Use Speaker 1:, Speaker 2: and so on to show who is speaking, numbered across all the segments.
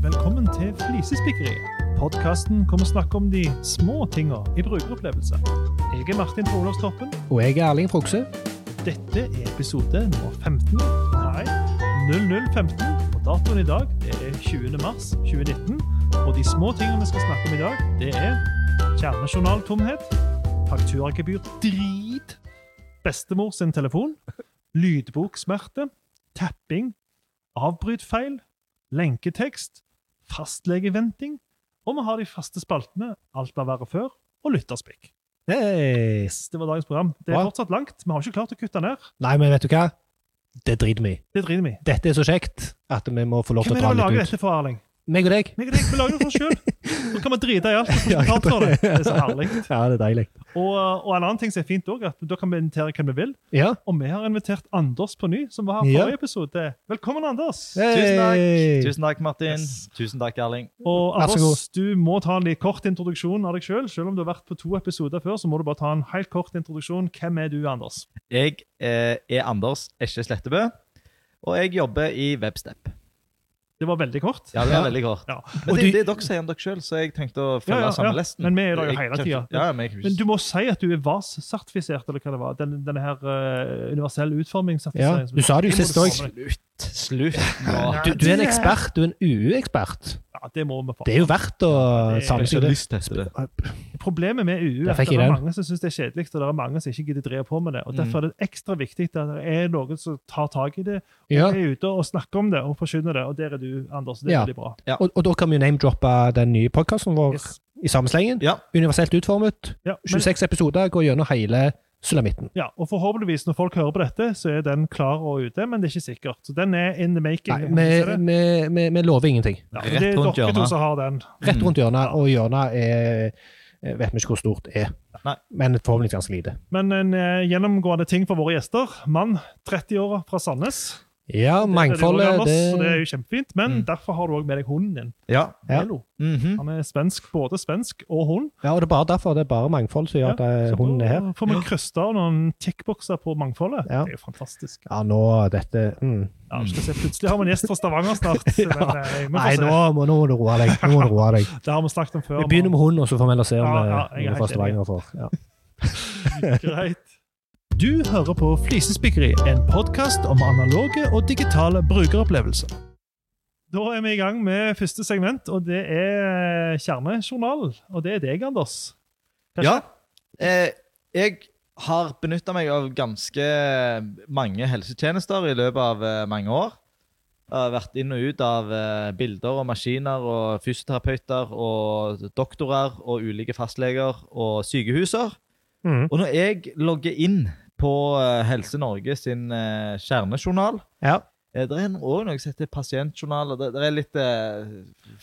Speaker 1: til Flisespikkeriet. Podkasten hvor vi snakker om de små tinga i brukeropplevelse. Jeg er Martin Trolovstoppen.
Speaker 2: Og jeg er Erling Frokse.
Speaker 1: Dette er episode nummer 15. Nei, 0015. Og datoen i dag det er 20. mars 2019. Og de små tingene vi skal snakke om i dag, det er kjernejournaltomhet, fakturagebyr drit, bestemor sin telefon, lydboksmerte, tapping, avbrytfeil, lenketekst, fastlegeventing, og vi har de faste spaltene Alt var verre før og Lytterspikk.
Speaker 2: Yes.
Speaker 1: Yes, det var dagens program. Det er
Speaker 2: Bra.
Speaker 1: fortsatt langt. Vi har ikke klart å kutte ned.
Speaker 2: Nei, men vet du hva? Det driter vi i.
Speaker 1: Det driter vi i.
Speaker 2: Dette er så kjekt at vi må få lov
Speaker 1: Hvem
Speaker 2: til
Speaker 1: er det
Speaker 2: å dra
Speaker 1: vi lager
Speaker 2: litt ut.
Speaker 1: dette for, Erling?
Speaker 2: Meg og deg.
Speaker 1: Meg og deg, vi lager det for oss sjøl. Så kan vi drite i alt. og få betalt for Det Det er så herlig.
Speaker 2: Ja, det er deilig.
Speaker 1: Og, og en annen ting som er fint også, at da kan vi invitere hvem vi vil.
Speaker 2: Ja.
Speaker 1: Og vi har invitert Anders på ny, som var her
Speaker 2: Ja.
Speaker 1: forrige episode. Velkommen, Anders.
Speaker 3: Tusen takk.
Speaker 2: Hey.
Speaker 3: Tusen takk, Martin.
Speaker 1: Yes.
Speaker 3: Tusen takk, Erling.
Speaker 1: Og
Speaker 2: Vær så
Speaker 1: Anders, du må ta en litt kort introduksjon av deg sjøl. Selv. selv om du har vært på to episoder før, så må du bare ta en helt kort introduksjon. Hvem er du, Anders?
Speaker 3: Jeg eh, er Anders Esje Slettebø, og jeg jobber i Webstep.
Speaker 1: Det var veldig kort.
Speaker 3: Ja, det var
Speaker 2: Ja.
Speaker 3: veldig kort.
Speaker 1: Ja.
Speaker 3: Men
Speaker 2: Og
Speaker 3: det,
Speaker 2: du-
Speaker 3: det er dere som sier om dere sjøl, så jeg tenkte å følge
Speaker 1: Ja, ja,
Speaker 3: samme
Speaker 1: ja.
Speaker 3: lesten.
Speaker 1: Men vi er der jo
Speaker 3: Jeg
Speaker 1: hele
Speaker 3: kan
Speaker 1: tida.
Speaker 3: ikke- Ja, men jeg kan
Speaker 1: Men
Speaker 3: ikke...
Speaker 1: du må si at du er VAS-sertifisert, eller hva det var. Den, denne her eh, universell
Speaker 2: Ja.
Speaker 1: utformingssertifisering. som-
Speaker 2: Du sa det jo
Speaker 1: må
Speaker 2: sist
Speaker 1: du
Speaker 2: òg.
Speaker 1: få med deg.
Speaker 3: Slutt. Slutt nå.
Speaker 2: Du, du er en ekspert. Du er en UU-ekspert.
Speaker 1: Ja, det må vi få.
Speaker 2: Det er jo verdt
Speaker 1: det er-
Speaker 2: å
Speaker 3: Jeg har ikke
Speaker 2: sammenstille.
Speaker 3: lyst til det.
Speaker 1: Problemet med UU er
Speaker 2: Der
Speaker 1: at
Speaker 2: fikk
Speaker 1: det
Speaker 2: jeg
Speaker 1: er
Speaker 2: den.
Speaker 1: mange som syns det er kjedelig, og det er mange som ikke gidder drive på med det. og
Speaker 3: Mm.
Speaker 1: Derfor er det ekstra viktig at det er noen som tar tak i det, og
Speaker 2: Ja.
Speaker 1: er ute og snakker om det og forkynner det. Og der er du, Anders. og Det er
Speaker 2: Ja.
Speaker 1: veldig bra.
Speaker 2: Og, og da kan vi jo name-droppe den nye podkasten vår
Speaker 1: Yes.
Speaker 2: i sammenslengen.
Speaker 3: Ja.
Speaker 2: Universelt utformet.
Speaker 1: Ja, men,
Speaker 2: 26 episoder går gjennom hele sulamitten.
Speaker 1: ja, og forhåpentligvis, når folk hører på dette, så er den klar og ute, men det er ikke sikkert. Så den er in the making.
Speaker 2: Nei,
Speaker 1: om du ser
Speaker 2: vi-
Speaker 1: det.
Speaker 2: vi- vi vi lover ingenting.
Speaker 1: Ja,
Speaker 3: Rett
Speaker 1: det er
Speaker 3: rundt
Speaker 1: dere to
Speaker 3: hjørnet.
Speaker 1: som har den.
Speaker 2: Rett
Speaker 3: Mm.
Speaker 2: rundt hjørnet, og hjørnet er jeg Vet vi ikke hvor stort det er.
Speaker 3: Nei.
Speaker 2: Men forhåpentligvis ganske lite.
Speaker 1: Men en eh, gjennomgående ting for våre gjester. Mann, 30-åra, fra Sandnes.
Speaker 2: Ja,
Speaker 1: Det er du også,
Speaker 2: mangfoldet
Speaker 1: Anders,
Speaker 2: det,
Speaker 1: Så det er jo kjempefint. Men
Speaker 3: Mm.
Speaker 1: derfor har du òg med deg hunden din.
Speaker 3: Ja.
Speaker 2: Ja.
Speaker 1: Melo.
Speaker 3: Mhm.
Speaker 1: Han er svensk, både svensk og hund.
Speaker 2: Ja, og det er bare derfor. Det er bare mangfold som gjør at eh,
Speaker 1: Så
Speaker 2: hunden er her.
Speaker 1: da Får vi krysta av noen tickbokser på mangfoldet?
Speaker 2: Ja.
Speaker 1: Det er jo fantastisk.
Speaker 2: Ja, nå dette mm.
Speaker 1: Ja, vi skal se. Plutselig har vi en gjest fra Stavanger snart.
Speaker 2: Ja.
Speaker 1: men, eh, vi får
Speaker 2: Nei,
Speaker 1: se.
Speaker 2: nå må, nå må du roe deg. Nå må du roe deg.
Speaker 1: Det har vi snakket om før.
Speaker 2: Vi begynner med hund, og så får vi heller se om
Speaker 1: Ja,
Speaker 2: det
Speaker 1: ja, jeg er
Speaker 2: er noe
Speaker 1: helt
Speaker 2: fra Stavanger får. Ja.
Speaker 1: Greit. Du hører på Flisespikkeri, en podkast om analoge og digitale brukeropplevelser. Da er vi i gang med første segment, og det er eh, kjernejournal. Og det er deg, Anders. Kanskje?
Speaker 3: ja. Eh, jeg har benytta meg av ganske mange helsetjenester i løpet av eh, mange år. Jeg har vært inn og ut av eh, bilder og maskiner og fysioterapeuter og doktorer og ulike fastleger og sykehuser.
Speaker 2: Mm.
Speaker 3: Og når jeg logger inn på eh, Helse Norge sin eh, kjernejournal
Speaker 2: ja.
Speaker 3: eh, Det er òg noe som heter pasientjournal. og Det, det er litt eh,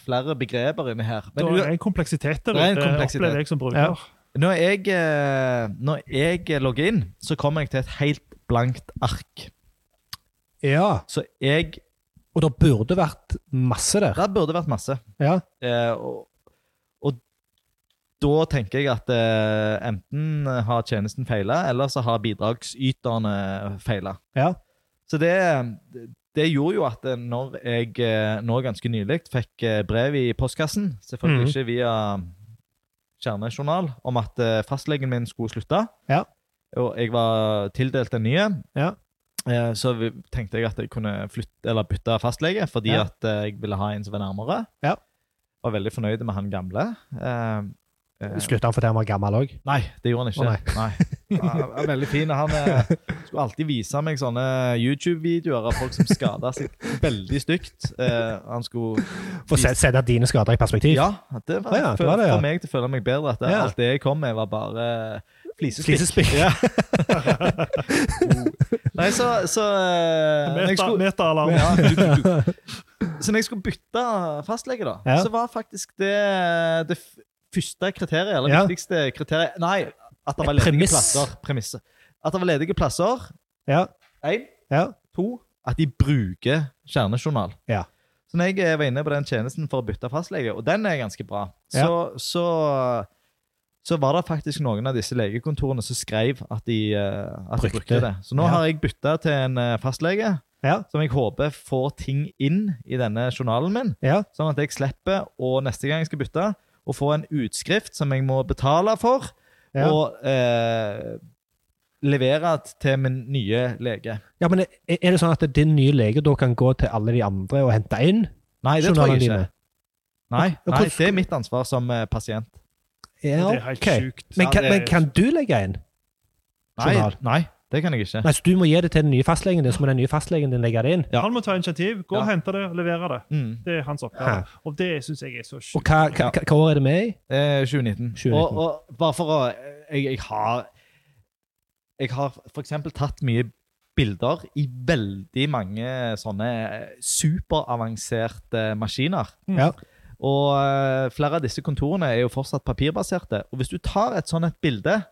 Speaker 3: flere begreper inni her.
Speaker 1: Da
Speaker 3: Men
Speaker 1: er det en kompleksitet der
Speaker 3: Det er en
Speaker 1: ute,
Speaker 3: kompleksitet.
Speaker 1: opplever jeg som bruker.
Speaker 2: Ja.
Speaker 3: Når jeg, eh, når jeg logger inn, så kommer jeg til et helt blankt ark.
Speaker 2: ja.
Speaker 3: Så jeg
Speaker 2: Og det burde vært masse der.
Speaker 3: Der burde det vært masse.
Speaker 2: Ja.
Speaker 3: Eh, og, og da tenker jeg at eh, enten har tjenesten feila, eller så har bidragsyterne feila.
Speaker 2: Ja.
Speaker 3: Så det, det gjorde jo at eh, når jeg eh, nå ganske nylig fikk eh, brev i postkassen, selvfølgelig
Speaker 2: Mhm.
Speaker 3: ikke via kjernejournal, om at eh, fastlegen min skulle slutte,
Speaker 2: Ja.
Speaker 3: og jeg var tildelt den nye,
Speaker 2: Ja.
Speaker 3: eh, så vi- tenkte jeg at jeg kunne flytte, eller bytte fastlege, fordi
Speaker 2: Ja.
Speaker 3: at eh, jeg ville ha en som var nærmere.
Speaker 2: Ja.
Speaker 3: Var veldig fornøyd med han gamle. Eh, eh,
Speaker 2: Slutta han fordi han var gammel òg?
Speaker 3: Nei, det gjorde han ikke.
Speaker 2: Å,
Speaker 3: nei. Han er veldig fin. Han eh, skulle alltid vise meg sånne YouTube-videoer av folk som skada seg veldig stygt. Eh, han skulle
Speaker 2: For å se- sette dine skader i perspektiv?
Speaker 3: Ja, det var,
Speaker 2: Å ja, det var
Speaker 3: for,
Speaker 2: det, ja.
Speaker 3: for meg til å føle meg bedre. At det,
Speaker 2: Ja.
Speaker 3: alt det jeg kom med, var bare eh, flisespikk.
Speaker 2: Flisespikk.
Speaker 3: Ja. Nei, så, så eh, når jeg
Speaker 1: Meta-
Speaker 3: skulle-
Speaker 1: Meta-alarm.
Speaker 3: ja, du- du- du. Så når jeg skulle bytte fastlege, da,
Speaker 2: Ja.
Speaker 3: så var faktisk det det f- første kriteriet, eller
Speaker 2: Ja.
Speaker 3: viktigste kriteriet Nei, at det var
Speaker 2: Et
Speaker 3: ledige
Speaker 2: premiss.
Speaker 3: plasser. Premisset. At det var ledige plasser.
Speaker 2: Ja.
Speaker 3: Én.
Speaker 2: ja.
Speaker 3: To. At de bruker kjernejournal.
Speaker 2: Ja.
Speaker 3: Så når jeg eh, var inne på den tjenesten for å bytte fastlege, og den er ganske bra, så, så, så var det faktisk noen av disse legekontorene som skrev at de, eh, at de
Speaker 2: Brukte.
Speaker 3: brukte det. Så nå
Speaker 2: Ja.
Speaker 3: har jeg bytta til en eh, fastlege
Speaker 2: Ja.
Speaker 3: som jeg håper får ting inn i denne journalen min,
Speaker 2: Ja.
Speaker 3: sånn at jeg slipper å neste gang jeg skal bytte, å få en utskrift som jeg må betale for,
Speaker 2: Ja.
Speaker 3: og eh, levere t- til min nye lege.
Speaker 2: ja, men er- Er det sånn at din nye lege da kan gå til alle de andre og hente inn
Speaker 3: Nei, det tror
Speaker 2: journalene
Speaker 3: jeg ikke.
Speaker 2: dine? Og-
Speaker 3: Nei,
Speaker 2: og
Speaker 3: nei,
Speaker 2: hvordan-
Speaker 3: det er mitt ansvar som eh, pasient.
Speaker 2: Ja,
Speaker 1: Det er helt
Speaker 2: ok.
Speaker 1: sjukt.
Speaker 2: Men
Speaker 1: Ja,
Speaker 2: kan,
Speaker 1: det er-
Speaker 2: men kan du legge inn?
Speaker 3: Nei,
Speaker 2: Journal.
Speaker 3: nei, det kan jeg ikke.
Speaker 2: Nei, så Du må gi det til den nye fastlegen din, så må den nye fastlegen din legge det inn.
Speaker 3: Ja.
Speaker 1: Han må ta initiativ. Gå og
Speaker 3: Ja.
Speaker 1: hente det, levere det.
Speaker 3: Mm.
Speaker 1: Det er hans oppgave. Og det syns jeg er så
Speaker 2: Og
Speaker 1: sjukt.
Speaker 2: hva, hva, hva hva år er det med i?
Speaker 3: Eh, 2019.
Speaker 2: 2019.
Speaker 3: Og, og bare for å jeg, jeg har Jeg har for eksempel tatt mye bilder i veldig mange sånne eh, superavanserte maskiner.
Speaker 1: Mm.
Speaker 2: Ja.
Speaker 3: Og eh, flere av disse kontorene er jo fortsatt papirbaserte. Og hvis du tar et sånn et bilde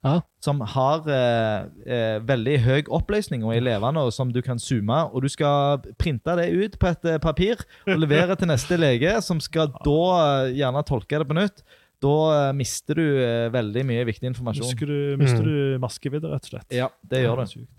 Speaker 2: Ja.
Speaker 3: som har eh, eh, veldig høy oppløsning og er levende, og som du kan zoome, og du skal printe det ut på et eh, papir og levere til neste lege, som skal da eh, gjerne tolke det på nytt, da eh, mister du eh, veldig mye viktig informasjon.
Speaker 1: Mister
Speaker 2: sånn?
Speaker 1: du,
Speaker 2: Mm.
Speaker 1: mister du maskevidde, rett og slett.
Speaker 3: Ja, det gjør du.
Speaker 1: Sjukt.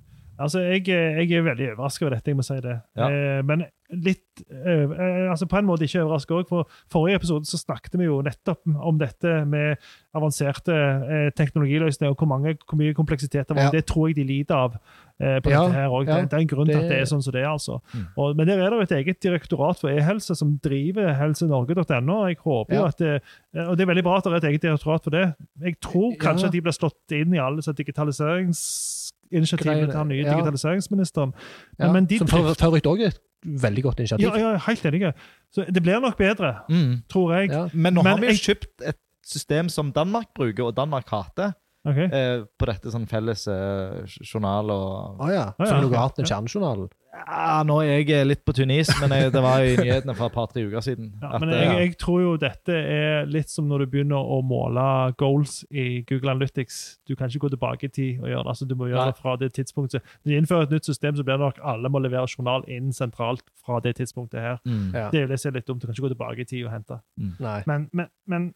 Speaker 1: Altså, jeg, jeg er veldig overraska over dette, jeg må si det.
Speaker 3: Ja.
Speaker 1: Eh, men litt eh, eh, altså På en måte ikke overraska òg, for forrige episode så snakket vi jo nettopp om dette med avanserte eh, teknologiløsninger og hvor, mange, hvor mye kompleksitet det var.
Speaker 2: Ja.
Speaker 1: Det tror jeg de lider av. eh, på
Speaker 2: Ja,
Speaker 1: dette her også.
Speaker 2: ja.
Speaker 1: Det, det er en grunn til at det
Speaker 2: Det-
Speaker 1: er sånn som det er. altså.
Speaker 3: Mm.
Speaker 1: Og, men der er det jo et eget direktorat for e-helse som driver helsenorge.no. Jeg håper jo
Speaker 2: Ja.
Speaker 1: at eh, det, og det er veldig bra at det er et eget direktorat for det. Jeg tror kanskje
Speaker 2: Ja.
Speaker 1: at de blir slått inn i alle disse digitaliseringsinitiativene til den nye
Speaker 2: Ja.
Speaker 1: digitaliseringsministeren. Men,
Speaker 2: Ja.
Speaker 1: men de
Speaker 2: Som
Speaker 1: drift-
Speaker 2: for øvrig òg er et veldig godt initiativ.
Speaker 1: ja, ja, helt enig. Så det blir nok bedre,
Speaker 3: Mm.
Speaker 1: tror jeg.
Speaker 2: Ja.
Speaker 3: Men nå
Speaker 1: Men
Speaker 3: har vi jo
Speaker 1: jeg-
Speaker 3: kjøpt et system som Danmark bruker, og Danmark hater,
Speaker 1: Ok.
Speaker 3: eh, på dette sånn felles eh, journal og
Speaker 2: Å ja.
Speaker 1: Å ja,
Speaker 2: Som noe
Speaker 1: ok.
Speaker 2: annet enn
Speaker 1: Ja.
Speaker 2: kjernejournalen.
Speaker 3: Ja, nå er jeg eh, litt på tynn is, men jeg, det var i nyhetene for et par-tre uker siden.
Speaker 1: Ja,
Speaker 3: at,
Speaker 1: men
Speaker 3: eh,
Speaker 1: jeg, jeg tror jo dette er litt som når du begynner å måle goals i Google Analytics. Du kan ikke gå tilbake i tid og gjøre det. altså Du må gjøre
Speaker 3: Nei.
Speaker 1: det fra det tidspunktet. Når de innfører et nytt system, så blir det nok alle må levere journal inn sentralt fra det tidspunktet her.
Speaker 3: mm.
Speaker 2: Ja.
Speaker 1: Det er jo det som er litt dumt. Du kan ikke gå tilbake i tid og hente.
Speaker 2: Nei.
Speaker 1: Men, men, men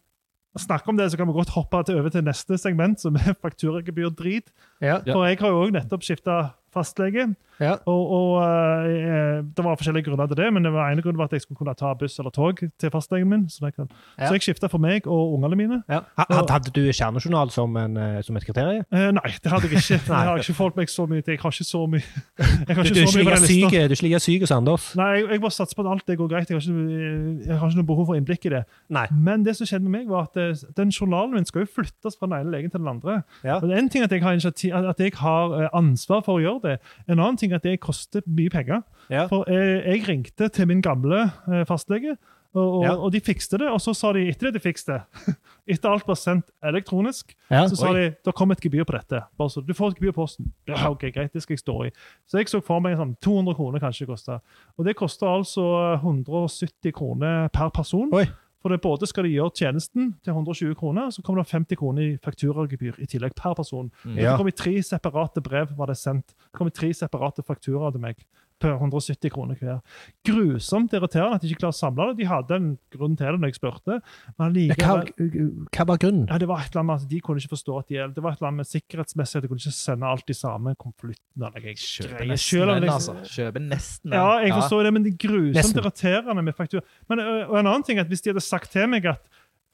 Speaker 1: snakk om det, så kan vi godt hoppe til, over til neste segment, som er fakturagebyr-drit.
Speaker 2: Ja.
Speaker 3: Ja.
Speaker 1: For jeg har jo òg nettopp skifta fastlege.
Speaker 2: Ja.
Speaker 1: Og, og eh, Det var forskjellige grunner til det, men det var ene grunnen var at jeg skulle kunne ta buss eller tog til fastlegen min. Så, jeg kan.
Speaker 2: Ja.
Speaker 1: så jeg skifta for meg og ungene mine.
Speaker 2: Ja. Ha- Hadde, hadde du kjernejournal som, en, eh, som et kriterium?
Speaker 1: Eh, nei, det hadde jeg ikke.
Speaker 2: Nei.
Speaker 1: Jeg har ikke forholdt meg så mye til Jeg har ikke så mye Jeg har ikke
Speaker 2: Du, du er
Speaker 1: så mye
Speaker 2: ikke
Speaker 1: på
Speaker 2: like
Speaker 1: den
Speaker 2: syk-
Speaker 1: lista.
Speaker 2: du er ikke like syk som Anders?
Speaker 1: Nei, jeg, jeg bare satser på at alt det går greit. Jeg har, ikke, jeg har ikke noe behov for innblikk i det.
Speaker 2: Nei.
Speaker 1: Men det som skjedde med meg var at eh, den journalen min skal jo flyttes fra den ene legen til den andre.
Speaker 2: Ja.
Speaker 1: Og det er en ting at jeg har, initiativ, at- at jeg har eh, ansvar for å gjøre det. En annen ting er at det koster mye penger.
Speaker 2: Ja.
Speaker 1: For eh, jeg ringte til min gamle eh, fastlege, og, og,
Speaker 2: Ja.
Speaker 1: og de fikste det. Og så sa de etter det de fikste det, etter alt var sendt elektronisk,
Speaker 2: Ja.
Speaker 1: så sa de det kom et gebyr på dette. Bare så, du får et gebyr i posten.
Speaker 2: Ah.
Speaker 1: Ja, ok, greit, det skal jeg stå i. Så jeg så for meg sånn 200 kroner kanskje det kosta. Og det koster altså 170 kroner per person.
Speaker 2: Oi.
Speaker 1: For det både skal de gjøre tjenesten til 120 kroner, så kommer det 50 kroner i fakturagebyr i tillegg per person.
Speaker 3: Mm.
Speaker 1: Det kom i tre separate brev var det sendt. Det kom i tre separate fakturaer til meg på 170 kroner hver. Grusomt irriterende at de ikke klarer å samle det. De hadde en grunn til det når jeg spurte. men
Speaker 2: Ja, Hva,
Speaker 1: allikevel-
Speaker 2: hva var grunnen?
Speaker 1: ja, det var et eller annet med at De kunne ikke forstå at de Det var et eller annet med sikkerhetsmessig at de kunne ikke sende alt i samme konvolutten. eller jeg
Speaker 3: Kjøper
Speaker 1: greier
Speaker 3: nesten
Speaker 1: selv om
Speaker 3: den,
Speaker 1: det-
Speaker 3: altså. Kjøper nesten den.
Speaker 1: Ja, jeg forstår det, men det er grusomt
Speaker 2: Nesten.
Speaker 1: irriterende med faktura. Men ø, og en annen ting er at Hvis de hadde sagt til meg at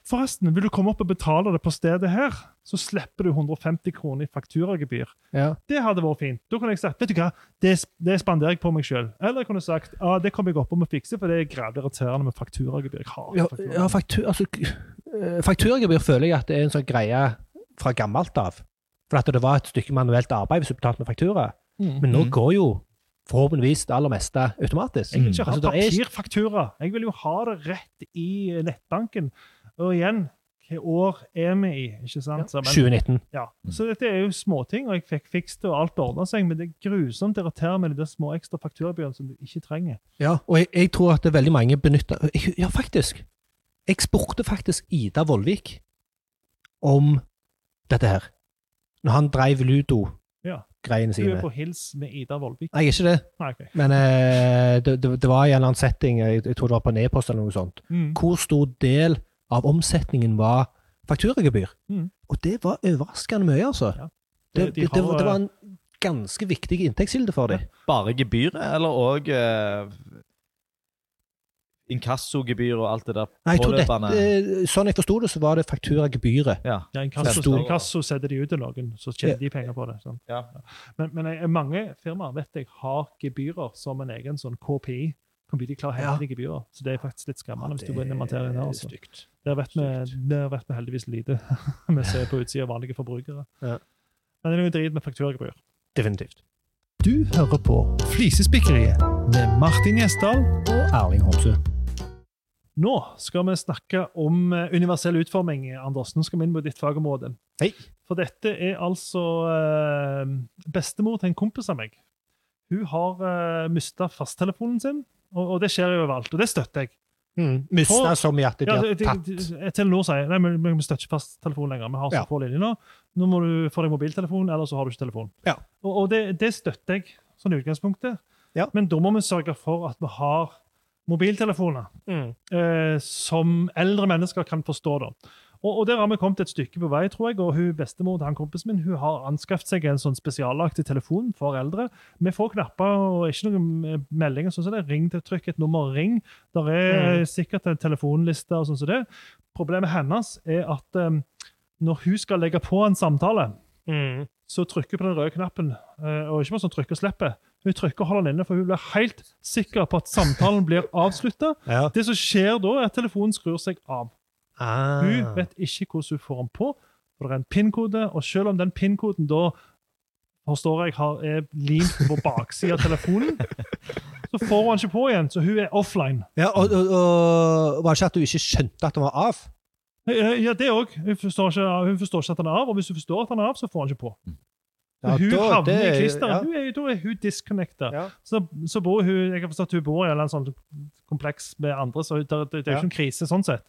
Speaker 1: forresten, vil du komme opp og betale det på stedet her, så slipper du 150 kroner i fakturagebyr.
Speaker 2: Ja.
Speaker 1: Det hadde vært fint. Da kunne jeg sagt vet du hva, det, det spanderer jeg på meg sjøl. Eller jeg kunne sagt ja, det kommer jeg opp om å fikse, for det er grævlig irriterende med fakturagebyr. Jeg hater fakturagebyr.
Speaker 2: Ja, ja faktur, altså, eh, Fakturagebyr føler jeg at det er en sånn greie fra gammelt av. For at det var et stykke manuelt arbeid hvis du betalte med faktura.
Speaker 1: Mm.
Speaker 2: Men nå
Speaker 3: Mm.
Speaker 2: går jo forhåpentligvis det aller meste automatisk.
Speaker 1: Jeg vil ikke ha
Speaker 2: Altså, det er ikke-
Speaker 1: papirfaktura. Jeg vil jo ha det rett i nettbanken. Og igjen, hvilket år er vi i? Ikke sant? Så, men,
Speaker 2: 2019.
Speaker 1: ja. så dette er jo småting, og jeg fikk fikst det, og alt ordna seg, men det er grusomt irriterende med de der små ekstra fakturabyene som du ikke trenger.
Speaker 2: Ja, og jeg, jeg tror at det er veldig mange benytter jeg- Ja, faktisk. Jeg spurte faktisk Ida Vollvik om dette her. Når han dreiv
Speaker 1: Ja.
Speaker 2: ludo-greiene
Speaker 1: Du er
Speaker 2: sine.
Speaker 1: på hils med Ida Vollvik.
Speaker 2: Nei, jeg er ikke det.
Speaker 1: Nei, ok.
Speaker 2: Men eh, det, det, det var i en eller annen setting, jeg, jeg tror det var på en e-post eller noe sånt,
Speaker 1: Mm.
Speaker 2: hvor stor del av omsetningen var fakturagebyr.
Speaker 1: Mm.
Speaker 2: Og det var overraskende mye, altså.
Speaker 1: Ja.
Speaker 2: Det,
Speaker 1: De- de
Speaker 2: det, det,
Speaker 1: har- eh,
Speaker 2: det var en ganske viktig inntektskilde for dem.
Speaker 3: Bare gebyret, eller òg eh, inkassogebyr og alt det der
Speaker 2: Nei, jeg tror dette, sånn jeg forsto det, så var det fakturagebyret.
Speaker 3: Ja.
Speaker 1: Ja, Inkasso
Speaker 2: Stor-
Speaker 1: inkasso setter de ut til noen, så tjener de penger på det. Sånn.
Speaker 3: Ja.
Speaker 1: Men, men jeg, mange firmaer vet jeg har gebyrer som en egen sånn KPI. Computer klarer å
Speaker 2: Ja.
Speaker 1: hente de gebyrer, så det er faktisk litt skremmende. hvis du går inn i materien her.
Speaker 2: er
Speaker 1: Altså.
Speaker 2: stygt.
Speaker 1: Der vet vi, der vet vi heldigvis lite. vi ser på utsida av vanlige forbrukere.
Speaker 2: Ja.
Speaker 1: Men det er noe drit med fakturagebyr.
Speaker 2: Definitivt.
Speaker 1: Du hører på Flisespikkeriet med Martin Gjesdal.
Speaker 2: Og Erling Homsø.
Speaker 1: Nå skal vi snakke om eh, universell utforming. Anders, nå skal vi inn på ditt fagområde.
Speaker 2: Hei.
Speaker 1: For dette er altså eh, bestemor til en kompis av meg. Hun har eh, mista fasttelefonen sin, og, og det skjer jo overalt. Og det støtter jeg.
Speaker 2: Mm. Mista
Speaker 1: På-
Speaker 2: som i at de
Speaker 1: Ja,
Speaker 2: har
Speaker 1: det- det-
Speaker 2: tatt
Speaker 1: det- Telenor sier nei, men vi støtter ikke fasttelefon lenger. Vi har så
Speaker 2: Ja.
Speaker 1: få linjer nå. Nå må du få deg mobiltelefon, eller så har du ikke telefon.
Speaker 2: Ja.
Speaker 1: Og, og det, det støtter jeg sånn i utgangspunktet.
Speaker 2: Ja.
Speaker 1: Men da må vi sørge for at vi har mobiltelefoner
Speaker 2: Mm.
Speaker 1: eh, som eldre mennesker kan forstå. Da. Og, og der har vi kommet et stykke på vei, tror jeg. Og hun bestemor til han kompisen min hun har anskaffet seg en sånn spesialaktig telefon for eldre. Vi får knapper og ikke noen eh, meldinger. sånn som det. Ring til trykk et nummer, ring. Der er
Speaker 2: Mm.
Speaker 1: eh, sikkert en telefonliste og sånn som det. Problemet hennes er at eh, når hun skal legge på en samtale,
Speaker 2: Mm.
Speaker 1: så trykker hun på den røde knappen. eh, og ikke bare sånn trykker og slipper. Hun trykker og holder den inne, for hun blir helt sikker på at samtalen blir avslutta.
Speaker 2: Ja.
Speaker 1: Det som skjer da, er at telefonen skrur seg av.
Speaker 2: Ah.
Speaker 1: Hun vet ikke hvordan hun får den på, for det er en PIN-kode, og selv om den PIN-koden da forstår jeg har, er limt på baksida av telefonen, så får hun den ikke på igjen, så hun er offline.
Speaker 2: Ja, og, og, og var det ikke at du ikke skjønte at den var av?
Speaker 1: Eh, Ja, det òg. Hun, forstår ikke- hun forstår ikke at den er av, og hvis hun forstår at den er av, så får hun den ikke på.
Speaker 2: Mm. Ja,
Speaker 1: hun
Speaker 2: da-
Speaker 1: havner
Speaker 2: det-
Speaker 1: i klisteret.
Speaker 2: ja.
Speaker 1: Hun er, da er hun disconnecta.
Speaker 2: Ja.
Speaker 1: Så, så bor hun Jeg har forstått at hun bor i en eller annen sånn kompleks med andre, så det, det, det er jo
Speaker 2: Ja. Mm.
Speaker 1: ikke en krise sånn sett.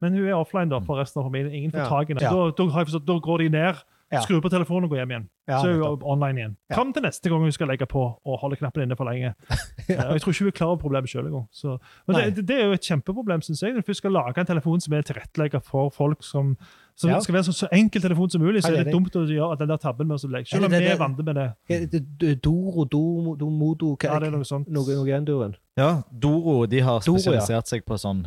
Speaker 1: Men hun er offline da for resten av familien. Ingen får
Speaker 2: Ja.
Speaker 1: tak i henne.
Speaker 2: Ja.
Speaker 1: Da, da, har jeg forstått, da går de ned,
Speaker 2: Ja.
Speaker 1: skrur på telefonen og går hjem igjen.
Speaker 2: Ja,
Speaker 1: så er hun
Speaker 2: nettopp.
Speaker 1: online igjen.
Speaker 2: Ja.
Speaker 1: Fram til neste gang hun skal legge på og holde knappen inne for lenge. Eh, og Jeg tror ikke hun er klar over problemet sjøl engang. Så- Men
Speaker 2: Nei.
Speaker 1: det, det er jo et kjempeproblem, syns jeg. Når du først skal lage en telefon som er tilrettelegget for folk som som
Speaker 2: Ja.
Speaker 1: skal være så, så enkel telefon som mulig, så
Speaker 2: Helt
Speaker 1: er det
Speaker 2: enig.
Speaker 1: dumt å gjøre den der tabben med å legge. Selv om
Speaker 2: Eller
Speaker 1: vi er
Speaker 2: det- det-
Speaker 1: vant med det.
Speaker 2: Ja, det- det- Doro, Domo, Domodo hva-
Speaker 1: Ja, det er noe sånt.
Speaker 2: noe, noe i den duren.
Speaker 3: ja, Doro de har
Speaker 2: Doro, ja.
Speaker 3: spesialisert seg på sånn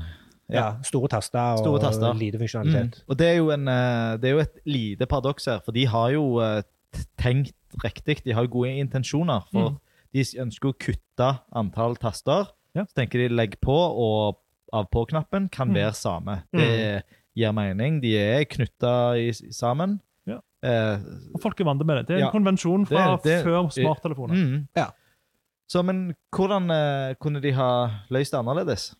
Speaker 3: Ja.
Speaker 2: Ja. Store taster og
Speaker 3: Store taster.
Speaker 2: lite
Speaker 3: Mm.
Speaker 2: funksjonalitet.
Speaker 3: Og det er, jo en, eh, det er jo et lite paradoks her, for de har jo eh, t- tenkt riktig. De har jo gode intensjoner, for de s- ønsker å kutte antall taster.
Speaker 1: Ja.
Speaker 3: Så tenker de legg på, og av på-knappen kan
Speaker 1: Mm.
Speaker 3: være same. Det gir mening. De er knytta sammen.
Speaker 1: Ja.
Speaker 3: Eh,
Speaker 1: Og folk er vant med det. Det er en
Speaker 3: Ja.
Speaker 1: konvensjon fra
Speaker 3: Det er- det-
Speaker 1: før smarttelefoner.
Speaker 3: mm.
Speaker 2: Ja.
Speaker 3: Så, men hvordan eh, kunne de ha løst det annerledes?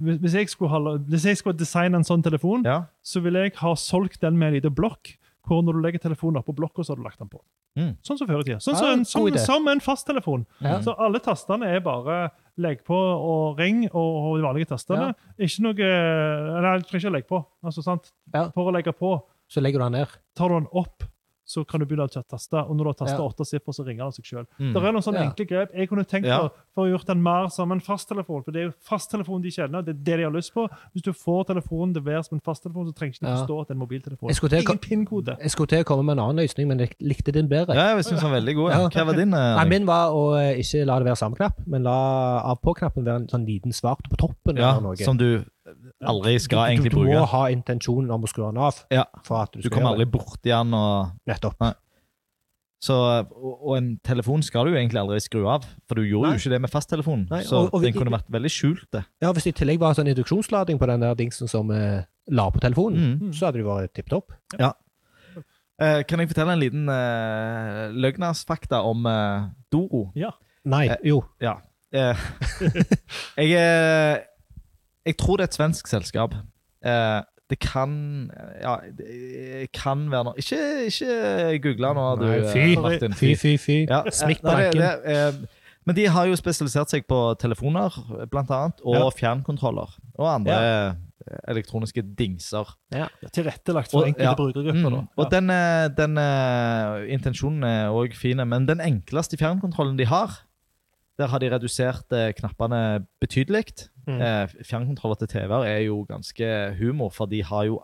Speaker 1: Hvis- Hvis, jeg skulle ha, hvis jeg skulle designe en sånn telefon,
Speaker 3: Ja.
Speaker 1: så ville jeg ha solgt den med en liten blokk, hvor når du legger telefonen oppå blokka, så har du lagt den på.
Speaker 3: Mm.
Speaker 1: Sånn som før i tida. Sånn
Speaker 2: Ja,
Speaker 1: som en,
Speaker 2: Ah, god
Speaker 1: som,
Speaker 2: idé.
Speaker 1: som en fasttelefon.
Speaker 2: Ja.
Speaker 1: Så alle tastene er bare legg på og ring og, og de vanlige tastene. Ikke noe eh, Nei, du trenger ikke legge på. Altså, sant?
Speaker 2: Ja.
Speaker 1: For å legge på
Speaker 2: Mm. Så legger du den ned.
Speaker 1: tar du den opp, så kan du begynne å taste. Og når du har tastet
Speaker 2: Ja.
Speaker 1: åtte siffer, så ringer den seg sjøl.
Speaker 3: Mm.
Speaker 1: Det er noen sånne
Speaker 2: Ja.
Speaker 1: enkle grep jeg kunne tenkt
Speaker 3: Ja.
Speaker 1: på for å gjort den mer som en fasttelefon. For det er jo fasttelefonen de kjenner, det er det de har lyst på. Hvis du får telefonen til å være som en fasttelefon, så trenger ikke de
Speaker 2: Ja.
Speaker 1: forstå at det er en mobiltelefon.
Speaker 2: Jeg skulle til å-
Speaker 1: Ingen PIN-kode.
Speaker 2: Jeg skulle til å komme med en annen løsning, men jeg likte din bedre.
Speaker 3: Ja, jeg syns den var veldig god.
Speaker 2: Ja.
Speaker 3: Hva var din? eh,
Speaker 2: Nei, min var å eh, ikke la det være samme knapp, men la av-på-knappen være en sånn liten svart på toppen.
Speaker 3: ja,
Speaker 2: eller noe.
Speaker 3: som du aldri skal
Speaker 2: du,
Speaker 3: egentlig
Speaker 2: du
Speaker 3: bruke.
Speaker 2: må ha intensjonen om å skru den av.
Speaker 3: Ja.
Speaker 2: For at du,
Speaker 3: Du
Speaker 2: skal
Speaker 3: kommer
Speaker 2: gjøre
Speaker 3: aldri borti den. Og,
Speaker 2: det. Nettopp.
Speaker 3: så, og, og en telefon skal du jo egentlig aldri skru av, for du gjorde
Speaker 2: Nei.
Speaker 3: jo ikke det med fasttelefonen.
Speaker 2: Nei,
Speaker 3: Så
Speaker 2: og- og vi-
Speaker 3: den kunne vært veldig skjult, det.
Speaker 2: Ja, Hvis det i tillegg var sånn induksjonslading på den der dingsen som eh, la på telefonen,
Speaker 3: Mm.
Speaker 2: så hadde det vært tipp topp.
Speaker 3: Eh, kan jeg fortelle en liten eh, løgnasfakta om eh, Doro?
Speaker 1: Ja.
Speaker 2: Nei,
Speaker 3: Eh,
Speaker 2: jo.
Speaker 3: Eh, jeg, eh, jeg tror det er et svensk selskap. Eh, det kan Ja, det kan være noe Ikke, ikke google nå, du,
Speaker 2: Nei, fy.
Speaker 3: eh, Martin.
Speaker 2: Fy, fy, fy.
Speaker 3: Ja, eh,
Speaker 2: Smikk på
Speaker 3: nei,
Speaker 2: nakken.
Speaker 3: det- det, eh, Men de har jo spesialisert seg på telefoner, blant annet, og
Speaker 1: Ja.
Speaker 3: fjernkontroller. Og andre eh, elektroniske dingser.
Speaker 1: Ja, tilrettelagt for
Speaker 3: Og-
Speaker 1: enkelte
Speaker 3: ja.
Speaker 1: brukergrupper. da.
Speaker 3: Mm. Og den, eh, den eh, intensjonen er òg fin, men den enkleste fjernkontrollen de har, der har de redusert eh, knappene betydelig.
Speaker 2: Mm.
Speaker 3: Eh, Fjernkontroller til TV-er er jo ganske humor, for de har jo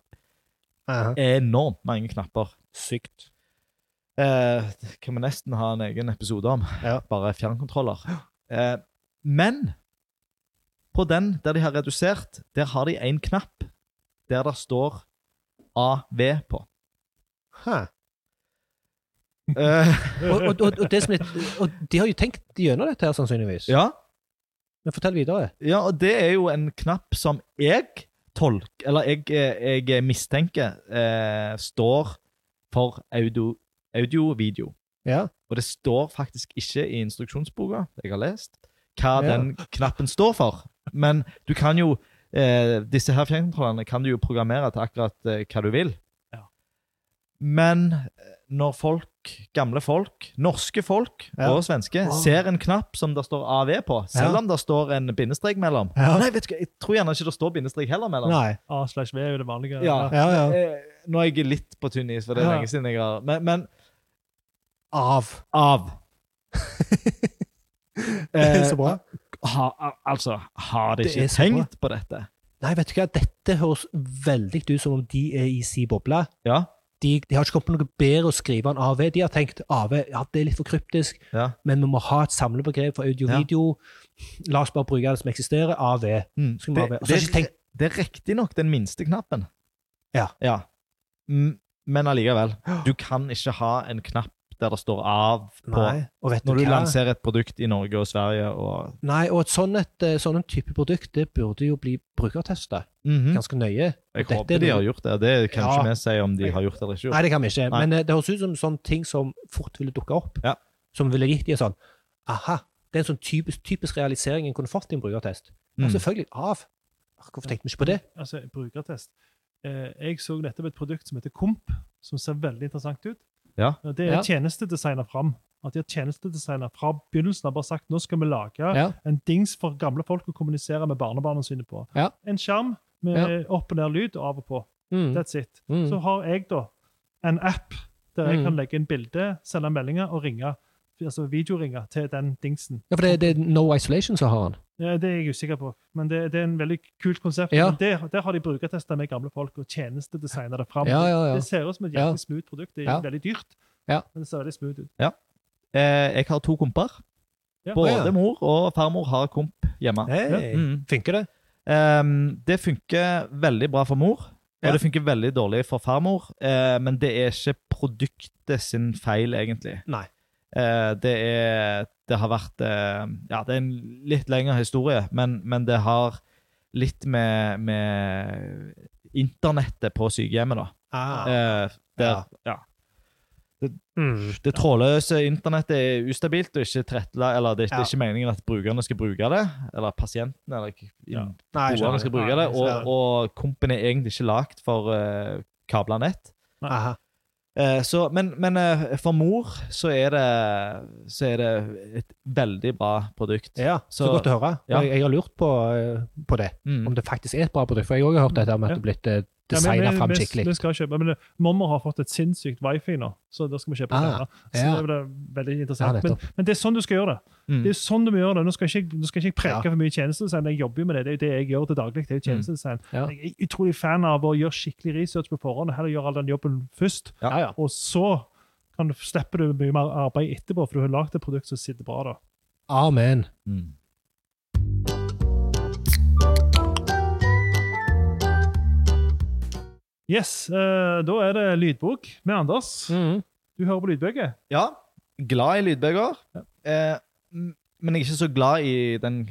Speaker 2: Aha.
Speaker 3: enormt mange knapper.
Speaker 2: Sykt.
Speaker 3: Eh, det kan vi nesten ha en egen episode om.
Speaker 2: Ja.
Speaker 3: Bare fjernkontroller. Eh, men på den der de har redusert, der har de en knapp der det står AV på.
Speaker 2: Hæ.
Speaker 3: Eh,
Speaker 2: Og, og, og, og, det som er, og de har jo tenkt gjennom dette her, sannsynligvis.
Speaker 3: ja,
Speaker 2: Men fortell videre.
Speaker 3: ja, og det er jo en knapp som jeg tolk, eller jeg, eh, jeg mistenker eh, står for audio- audio-video.
Speaker 2: Ja.
Speaker 3: og det står faktisk ikke i instruksjonsboka jeg har lest, hva
Speaker 2: Ja.
Speaker 3: den knappen står for. Men du kan jo eh, disse her fjernkontrollene kan du jo programmere til akkurat eh, hva du vil.
Speaker 1: Ja.
Speaker 3: Men eh, når folk, gamle folk, norske folk
Speaker 2: Ja.
Speaker 3: og svenske,
Speaker 2: Wow.
Speaker 3: ser en knapp som det står AV på, selv
Speaker 2: Ja.
Speaker 3: om det står en bindestrek mellom
Speaker 2: Ja.
Speaker 3: Nei, vet du hva, jeg tror gjerne ikke det står bindestrek heller mellom.
Speaker 2: Nei.
Speaker 1: A slash V er jo det vanlige.
Speaker 3: Ja.
Speaker 2: Ja, ja.
Speaker 3: Eh, nå er jeg litt på tynn is, for det er
Speaker 1: Ja.
Speaker 3: lenge siden jeg har Men, men
Speaker 2: Av.
Speaker 3: av. Eh,
Speaker 2: Så bra.
Speaker 3: ha, al- altså, har de
Speaker 2: Det er
Speaker 3: ikke
Speaker 2: så
Speaker 3: tenkt på dette?
Speaker 2: Nei, vet du hva, dette høres veldig ut som om de er i si boble.
Speaker 3: Ja.
Speaker 2: De, de har ikke kommet på noe bedre å skrive enn AV. De har tenkt AV, ja, det er litt for kryptisk,
Speaker 3: Ja.
Speaker 2: men vi må ha et samlebegrep for audio og
Speaker 3: Ja.
Speaker 2: video. La oss bare bruke det som eksisterer, AV.
Speaker 3: Mm.
Speaker 2: Skal vi bare-
Speaker 3: Det,
Speaker 2: og så har jeg
Speaker 3: det,
Speaker 2: ikke tenkt-
Speaker 3: det er riktignok den minste knappen.
Speaker 2: Ja.
Speaker 3: Mm, Men allikevel. Du kan ikke ha en knapp der det står 'av' på
Speaker 2: Nei, og vet
Speaker 3: når
Speaker 2: du
Speaker 3: du
Speaker 2: hva?
Speaker 3: lanserer et produkt i Norge og Sverige og
Speaker 2: Nei, og et sånn et, eh, sånn en type produkt, det burde jo bli brukertestet
Speaker 3: Mhm.
Speaker 2: ganske nøye.
Speaker 3: Jeg
Speaker 2: Og dette
Speaker 3: håper
Speaker 2: er
Speaker 3: de
Speaker 2: noe-
Speaker 3: har gjort det. Det kan
Speaker 2: Ja.
Speaker 3: ikke vi si om de har gjort det eller ikke. gjort.
Speaker 2: Nei, det kan vi ikke.
Speaker 3: Nei.
Speaker 2: Men eh, det høres ut som sånne ting som fort ville dukke opp.
Speaker 3: Ja.
Speaker 2: Som ville gitt de en sånn Aha. Det er en sånn typisk, typisk realisering en kunne fått i en brukertest.
Speaker 3: Mm.
Speaker 2: Og selvfølgelig av. Ah, Hvorfor tenkte vi ikke på det?
Speaker 1: Altså, brukertest. Eh, jeg så nettopp et produkt som heter Komp, som ser veldig interessant ut.
Speaker 3: Ja.
Speaker 1: Det er
Speaker 2: Ja.
Speaker 1: tjenestedesigner fram. At de har tjenestedesigner fra begynnelsen har bare sagt nå skal vi lage
Speaker 2: Ja.
Speaker 1: en dings for gamle folk å kommunisere med barnebarna sine på.
Speaker 2: Ja.
Speaker 1: En skjerm med opp og ned lyd og av og på.
Speaker 2: Mm.
Speaker 1: That's it.
Speaker 2: Mm.
Speaker 1: Så har jeg da en app der jeg
Speaker 2: Mm.
Speaker 1: kan legge inn bilde, sende meldinger og ringe, altså videoringe til den dingsen.
Speaker 2: Ja, for det, det er No Isolation som har han.
Speaker 1: Ja, det er jeg usikker på, men det, det er en veldig kult konsept.
Speaker 2: Ja.
Speaker 1: Men Der, der har de brukertester med gamle folk og tjenestedesigner det fram.
Speaker 2: Ja, ja, ja.
Speaker 1: Det ser ut som et
Speaker 2: Ja.
Speaker 1: jævlig smooth produkt. Det er
Speaker 2: Ja.
Speaker 1: veldig dyrt,
Speaker 2: Ja.
Speaker 1: men det ser veldig smooth ut.
Speaker 3: Eh, jeg har to komper.
Speaker 1: Ja.
Speaker 3: Både
Speaker 2: Å, ja.
Speaker 3: mor og farmor har komp hjemme.
Speaker 2: Hey.
Speaker 3: Mm.
Speaker 2: Funker det?
Speaker 3: Ehm, det funker veldig bra for mor, og
Speaker 2: Ja.
Speaker 3: det funker veldig dårlig for farmor. eh, men det er ikke produktet sin feil, egentlig.
Speaker 2: Nei.
Speaker 3: Eh, det er Det har vært eh, Ja, det er en litt lengre historie, men, men det har litt med, med internettet på sykehjemmet, da.
Speaker 2: Ah,
Speaker 3: Eh, der, ja.
Speaker 2: Mm.
Speaker 3: Det trådløse internettet er ustabilt, og ikke trettla, eller det, det
Speaker 2: Ja.
Speaker 3: er ikke meningen at brukerne skal bruke det. Eller pasientene, eller
Speaker 1: Ja.
Speaker 2: Nei, jeg
Speaker 3: boerne
Speaker 2: skjønner.
Speaker 3: skal bruke det. Og,
Speaker 2: Ja.
Speaker 3: og kompen er egentlig ikke lagt for uh, kabla nett.
Speaker 2: Aha.
Speaker 3: Eh, så, men men eh, for mor så er, det, så er det et veldig bra produkt.
Speaker 2: Ja, så,
Speaker 3: Så-
Speaker 2: godt å høre.
Speaker 3: Ja.
Speaker 2: Jeg, jeg har lurt på, eh, på det,
Speaker 3: Mm.
Speaker 2: om det faktisk er et bra produkt. For jeg har også hørt dette med at
Speaker 1: Ja.
Speaker 2: det er blitt eh,
Speaker 1: Ja, men
Speaker 2: designet
Speaker 1: vi-
Speaker 2: fram
Speaker 1: vi-
Speaker 2: skikkelig.
Speaker 1: Vi skal kjøpe, men det- Mormor har fått et sinnssykt wifi nå, så da skal vi kjøpe
Speaker 2: Ah,
Speaker 1: det. Så
Speaker 2: ja.
Speaker 1: det blir veldig
Speaker 2: Ja,
Speaker 1: interessant. men, men det er sånn du skal gjøre det.
Speaker 3: Mm.
Speaker 1: Det er sånn du må gjøre det. Nå skal ikke, jeg- nå skal ikke jeg preke
Speaker 2: Ja. Mm.
Speaker 1: for mye tjenestedesign. Jeg jobber jo med det. Det er jo det jeg gjør til daglig. det er jo tjenestedesign.
Speaker 2: Ja.
Speaker 1: Jeg er utrolig fan av å gjøre skikkelig research på forhånd. Heller gjøre all den jobben først.
Speaker 2: Ja, ja.
Speaker 1: Og så kan du, slipper du mye mer arbeid etterpå, for du har lagd et produkt som sitter bra. da.
Speaker 2: Amen.
Speaker 3: Mm.
Speaker 1: Yes, eh, Da er det lydbok med Anders.
Speaker 2: Mm.
Speaker 1: Du hører på lydbøker.
Speaker 3: Ja, glad i lydbøker. Eh, m- men jeg er ikke så glad i den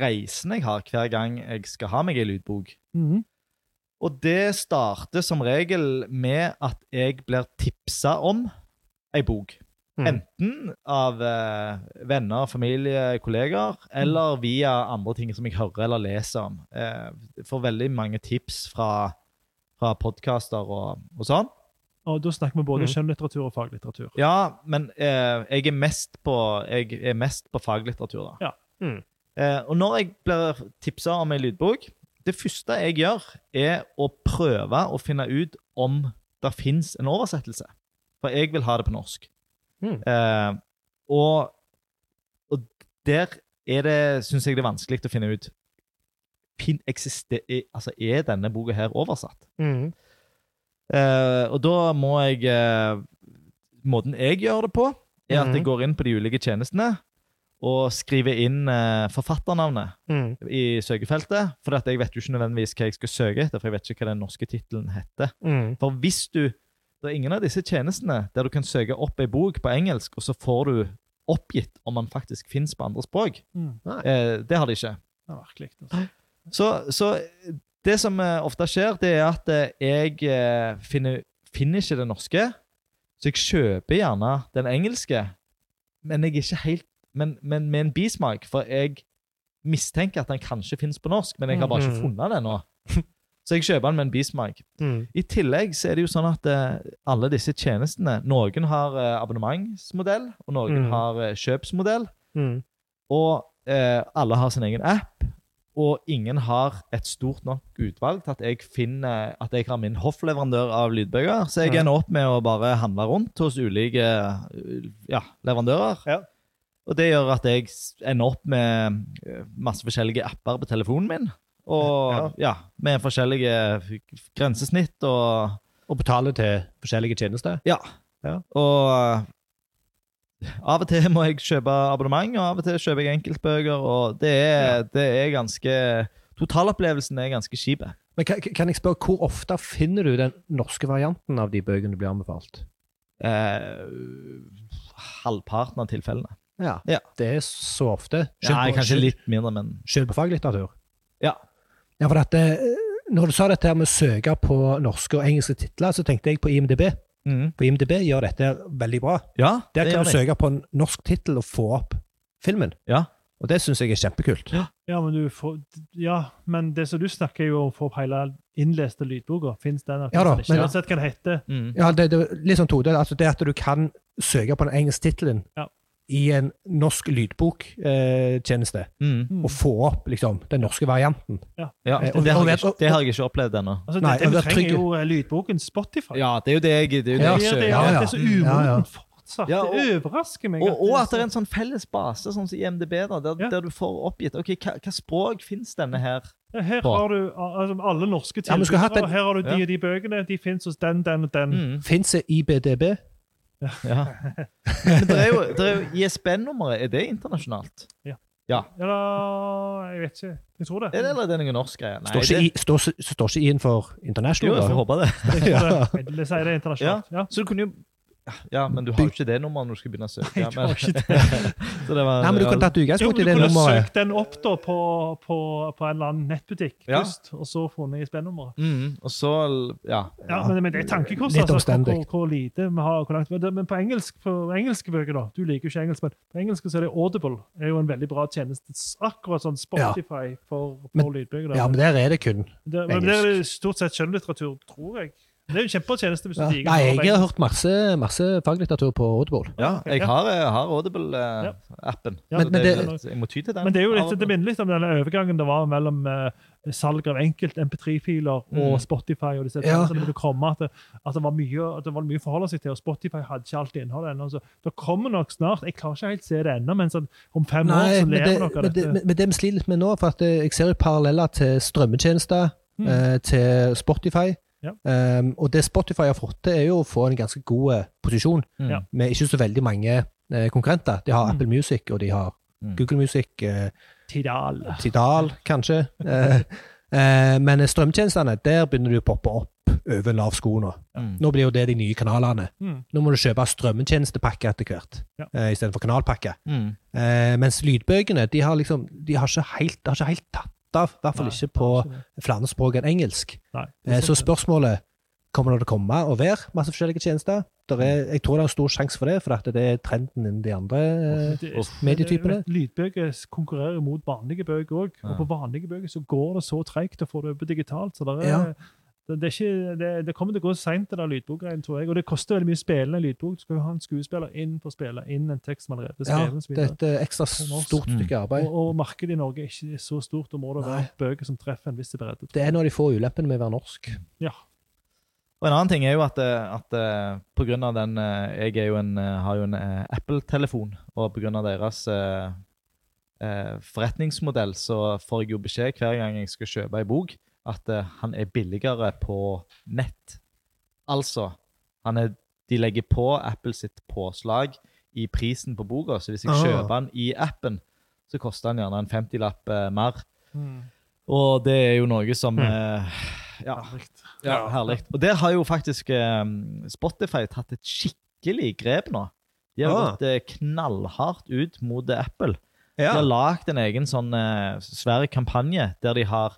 Speaker 3: reisen jeg har hver gang jeg skal ha meg ei lydbok.
Speaker 1: Mhm.
Speaker 3: Og det starter som regel med at jeg blir tipsa om ei bok.
Speaker 2: Mm.
Speaker 3: Enten av eh, venner, familie, kollegaer, eller via andre ting som jeg hører eller leser om. Eh, jeg får veldig mange tips fra, fra podkaster og, og sånn.
Speaker 1: Og Da snakker vi både
Speaker 2: Mhm.
Speaker 1: skjønnlitteratur og faglitteratur.
Speaker 3: Ja, men eh, jeg, er mest på, jeg er mest på faglitteratur, da.
Speaker 1: Ja.
Speaker 2: Mm.
Speaker 3: Eh, og når jeg blir tipsa om ei lydbok Det første jeg gjør, er å prøve å finne ut om det fins en oversettelse. For jeg vil ha det på norsk.
Speaker 2: Mm.
Speaker 3: Eh, og, og der er det, syns jeg det er vanskelig å finne ut fin, eksiste- er- altså, Er denne
Speaker 2: Mm.
Speaker 3: boka her oversatt? Eh, og da må jeg eh, måten jeg gjør det på, er at jeg
Speaker 2: Mhm.
Speaker 3: går inn på de ulike tjenestene og skriver inn eh, forfatternavnet
Speaker 2: Mm.
Speaker 3: i søkefeltet. For at jeg vet jo ikke nødvendigvis hva jeg skal søke etter, for jeg vet ikke hva den norske tittelen heter.
Speaker 2: Mm.
Speaker 3: For hvis du Det er ingen av disse tjenestene der du kan søke opp ei bok på engelsk, og så får du oppgitt om den faktisk fins på andre språk.
Speaker 1: Mm.
Speaker 3: Eh, det har de ikke.
Speaker 1: Ja, virkelig. Altså.
Speaker 3: Så, så det som eh, ofte skjer, det er at eh, jeg eh, finner, finner ikke det norske, så jeg kjøper gjerne den engelske, men jeg er ikke helt Men, men med en bismak, for jeg mistenker at den kanskje finnes på norsk, men jeg har bare ikke
Speaker 2: Mhm.
Speaker 3: funnet det nå. Så jeg kjøper den med en bismak.
Speaker 2: Mm.
Speaker 3: I tillegg så er det jo sånn at eh, alle disse tjenestene Noen har eh, abonnementsmodell, og noen
Speaker 2: Mhm.
Speaker 3: har eh, kjøpsmodell.
Speaker 2: Mm.
Speaker 3: Og eh, alle har sin egen app, og ingen har et stort nok utvalg til at jeg finner at jeg har min hoffleverandør av lydbøker. Så jeg
Speaker 2: Mhm.
Speaker 3: ender opp med å bare handle rundt hos ulike eh, ja, leverandører.
Speaker 1: Ja.
Speaker 3: Og det gjør at jeg s- ender opp med eh, masse forskjellige apper på telefonen min. Og ja, med forskjellige f- grensesnitt og
Speaker 2: Og betaler til forskjellige tjenester.
Speaker 3: ja.
Speaker 2: Ja.
Speaker 3: Og eh, av og til må jeg kjøpe abonnement, og av og til kjøper jeg enkeltbøker, og det er, det er ganske Totalopplevelsen er ganske kjip.
Speaker 2: Men kan, kan jeg spørre, hvor ofte finner du den norske varianten av de bøkene du blir anbefalt?
Speaker 3: Eh, halvparten av tilfellene.
Speaker 2: Ja.
Speaker 3: Ja.
Speaker 2: Det er så ofte.
Speaker 3: Nei,
Speaker 2: på-
Speaker 3: kanskje litt mindre, men
Speaker 2: Selv på faglitteratur?
Speaker 3: Ja.
Speaker 2: ja for at, eh, når du sa dette her med å søke på norske og engelske titler, så tenkte jeg på IMDb.
Speaker 3: Mhm.
Speaker 2: For IMDb gjør dette veldig bra.
Speaker 3: Ja,
Speaker 2: Der kan
Speaker 3: gjør
Speaker 2: du
Speaker 3: jeg.
Speaker 2: søke på en norsk tittel og få opp filmen.
Speaker 3: Ja.
Speaker 2: Og det syns jeg er kjempekult.
Speaker 1: Ja, men du får Ja, men det som du snakker, er jo å få opp hele innleste lydboka. Fins den? eller
Speaker 2: Ja da,
Speaker 1: finnes den
Speaker 2: men-
Speaker 1: ikke? Uansett hva det heter.
Speaker 3: Mhm.
Speaker 2: Ja, det, det, er litt sånn todelt. altså det at du kan søke på den engelske tittelen
Speaker 1: Ja.
Speaker 2: i en norsk lydboktjeneste, eh, tjeneste,
Speaker 3: Mhm.
Speaker 1: Mm.
Speaker 2: og få opp liksom, den norske varianten.
Speaker 3: Ja,
Speaker 2: Eh, og-
Speaker 3: det, har
Speaker 2: og
Speaker 3: jeg
Speaker 2: vet-
Speaker 3: ikke, det har jeg ikke opplevd ennå.
Speaker 1: Altså,
Speaker 2: Nei,
Speaker 1: det, det
Speaker 2: og
Speaker 1: vi
Speaker 2: det er
Speaker 1: trenger
Speaker 2: trygge.
Speaker 1: jo eh, lydboken Spotify.
Speaker 3: Ja, det er jo det jeg, det er jo det
Speaker 1: Det
Speaker 2: Ja,
Speaker 1: er,
Speaker 3: jeg
Speaker 1: det,
Speaker 3: kjøper.
Speaker 1: er,
Speaker 2: ja, ja.
Speaker 1: det er så
Speaker 2: Mm, ja, ja.
Speaker 1: umoden fortsatt.
Speaker 3: Ja, og-
Speaker 1: det overrasker meg.
Speaker 3: Og, og at det er en sånn felles base, sånn som i MDB, da, der,
Speaker 1: Ja.
Speaker 3: der du får oppgitt ok, hva, hva språk fins denne her?
Speaker 1: Ja, Her
Speaker 3: Bra.
Speaker 1: har du al- altså, alle norske
Speaker 2: Ja, men skulle
Speaker 1: tilbydere.
Speaker 2: hatt en-
Speaker 1: Her har du de
Speaker 3: Ja.
Speaker 1: og de bøkene. De fins hos den, den og den.
Speaker 3: Mhm.
Speaker 2: Fins det IBDB?
Speaker 3: Ja. Men det er jo, det er jo ISBN-nummeret, er det internasjonalt?
Speaker 1: Eller Jeg vet ikke. Jeg tror det.
Speaker 3: Er det, eller er det noen norsk greie? Nei,
Speaker 2: Står ikke,
Speaker 3: det,
Speaker 2: I- står, står ikke I-en for
Speaker 3: jo, jeg får
Speaker 2: international?
Speaker 3: håpe det.
Speaker 1: Jeg tror
Speaker 2: Ja.
Speaker 1: det. Eller sier det internasjonalt. Ja.
Speaker 3: Så du kunne jo Ja, men du har jo ikke det nummeret når du skal begynne å søke.
Speaker 1: Nei, du har ikke
Speaker 3: det. Så det var,
Speaker 2: Nei, men du kan ta et
Speaker 1: Jo,
Speaker 2: utgangspunkt
Speaker 1: men du
Speaker 2: i det
Speaker 1: kunne
Speaker 2: nummeret.
Speaker 1: søkt den opp da på, på, på en eller annen nettbutikk
Speaker 3: Ja.
Speaker 1: først, og så funnet ISBN-nummeret.
Speaker 3: Mhm, Og så Ja.
Speaker 1: Ja, men, men det er et tankekors.
Speaker 2: Litt
Speaker 1: Altså, hvor,
Speaker 2: omstendig.
Speaker 1: hvor, hvor lite vi har hvor langt. Men det- Men på, engelsk, på engelske bøker, da Du liker jo ikke engelsk, men på engelsk så er det Audible. er jo en veldig bra tjeneste. S- Akkurat sånn Spotify for,
Speaker 2: Men-
Speaker 1: for lydbøker. da.
Speaker 2: Ja, men der er det kun
Speaker 1: det, men det er stort sett skjønnlitteratur, tror jeg. Det er jo en kjempebra tjeneste hvis du
Speaker 2: Ja.
Speaker 1: liker
Speaker 2: Nei,
Speaker 1: å
Speaker 2: jeg
Speaker 1: høre
Speaker 2: har hørt masse, masse faglitteratur på Audible.
Speaker 3: ja jeg har, jeg har eh, Audible-appen.
Speaker 1: Ja,
Speaker 2: men- men det-
Speaker 3: jeg må ty til den.
Speaker 1: Men det er jo litt,
Speaker 3: av
Speaker 1: det
Speaker 3: og til.
Speaker 1: minner litt om denne overgangen det var mellom eh, salg av enkelt MP3-filer og
Speaker 3: Mm.
Speaker 1: Spotify. og disse
Speaker 2: Ja.
Speaker 1: tingene, så det ville komme at det, at, det var mye, at det var mye å forholde seg til, og Spotify hadde ikke alt innholdet ennå. Så det kommer nok snart. Jeg klarer ikke helt se det ennå, men sånn, om fem år
Speaker 2: Nei,
Speaker 1: så
Speaker 2: men det,
Speaker 1: lever nok av
Speaker 2: men, det,
Speaker 1: dette.
Speaker 2: men men det vi sliter litt med nå, for at eh, jeg ser jo paralleller til strømmetjenester,
Speaker 1: Mm.
Speaker 2: eh, til Spotify.
Speaker 1: Ja.
Speaker 2: Um, og det Spotify har fått til, er jo å få en ganske god eh, posisjon
Speaker 3: Mhm.
Speaker 1: Ja.
Speaker 2: med ikke så veldig mange eh, konkurrenter. De har
Speaker 1: Mm.
Speaker 2: Apple Music, og de har
Speaker 3: Mm.
Speaker 2: Google Music, eh,
Speaker 1: Tidal.
Speaker 2: Tidal kanskje. Eh, eh, men strømmetjenestene, der begynner du å poppe opp over lav sko nå.
Speaker 3: Mhm.
Speaker 2: Nå blir jo det de nye kanalene.
Speaker 1: Mm.
Speaker 2: Nå må du kjøpe strømmetjenestepakke etter hvert,
Speaker 1: Ja.
Speaker 2: eh, istedenfor kanalpakke.
Speaker 3: Mhm.
Speaker 2: Eh, mens lydbøkene de har liksom, de har ikke helt, de har ikke helt tatt av, i hvert fall
Speaker 1: Nei,
Speaker 2: ikke
Speaker 1: det
Speaker 2: på
Speaker 1: var ikke det.
Speaker 2: flere språk enn engelsk.
Speaker 1: Nei, det er
Speaker 2: Eh, så
Speaker 1: sant det.
Speaker 2: spørsmålet kommer det til å komme og være masse forskjellige tjenester. Der er, jeg tror det er en stor sjanse for det, for at det er trenden innen de andre. eh,
Speaker 1: Det-
Speaker 3: Uff.
Speaker 2: medietypene.
Speaker 1: Lydbøker konkurrerer mot vanlige bøker òg.
Speaker 3: Ja.
Speaker 1: Og på vanlige bøker så går det så treigt å få det over digitalt. så der er,
Speaker 2: Ja.
Speaker 1: det, det, er ikke, det, det kommer til å gå seint, det der lydbokgreiene, tror jeg. Og det koster veldig mye å spille en lydbok. Du skal jo ha en skuespiller inn for å spille inn en tekst som allerede er skrevet.
Speaker 2: Ja,
Speaker 1: og så
Speaker 2: det er
Speaker 1: videre.
Speaker 2: et eh, ekstra stort
Speaker 3: Mm.
Speaker 2: stykke arbeid.
Speaker 1: og, og markedet i Norge er ikke så stort, og må det være
Speaker 2: Nei.
Speaker 1: bøker som treffer en hvis det blir reddet.
Speaker 2: Det er en av de få ulempene med å være norsk.
Speaker 1: Ja.
Speaker 3: Og en annen ting er jo at, eh, at eh, på grunn av den eh, Jeg er jo en, eh, har jo en eh, Apple-telefon, og på grunn av deres eh, eh, forretningsmodell så får jeg jo beskjed hver gang jeg skal kjøpe ei bok, at eh, han er billigere på nett. Altså, han er de legger på Apple sitt påslag i prisen på boka. Så hvis jeg
Speaker 2: Ah.
Speaker 3: kjøper den i appen, så koster den gjerne en 50-lapp eh, mer.
Speaker 1: Mm.
Speaker 3: Og det er jo noe som
Speaker 2: Mm.
Speaker 3: eh, ja,
Speaker 1: Herlig.
Speaker 3: ja, herlig. Og der har jo faktisk eh, Spotify tatt et skikkelig grep nå. De har
Speaker 2: Ah.
Speaker 3: gått eh, knallhardt ut mot eh, Apple.
Speaker 2: Ja.
Speaker 3: De har lagd en egen sånn eh, svær kampanje der de har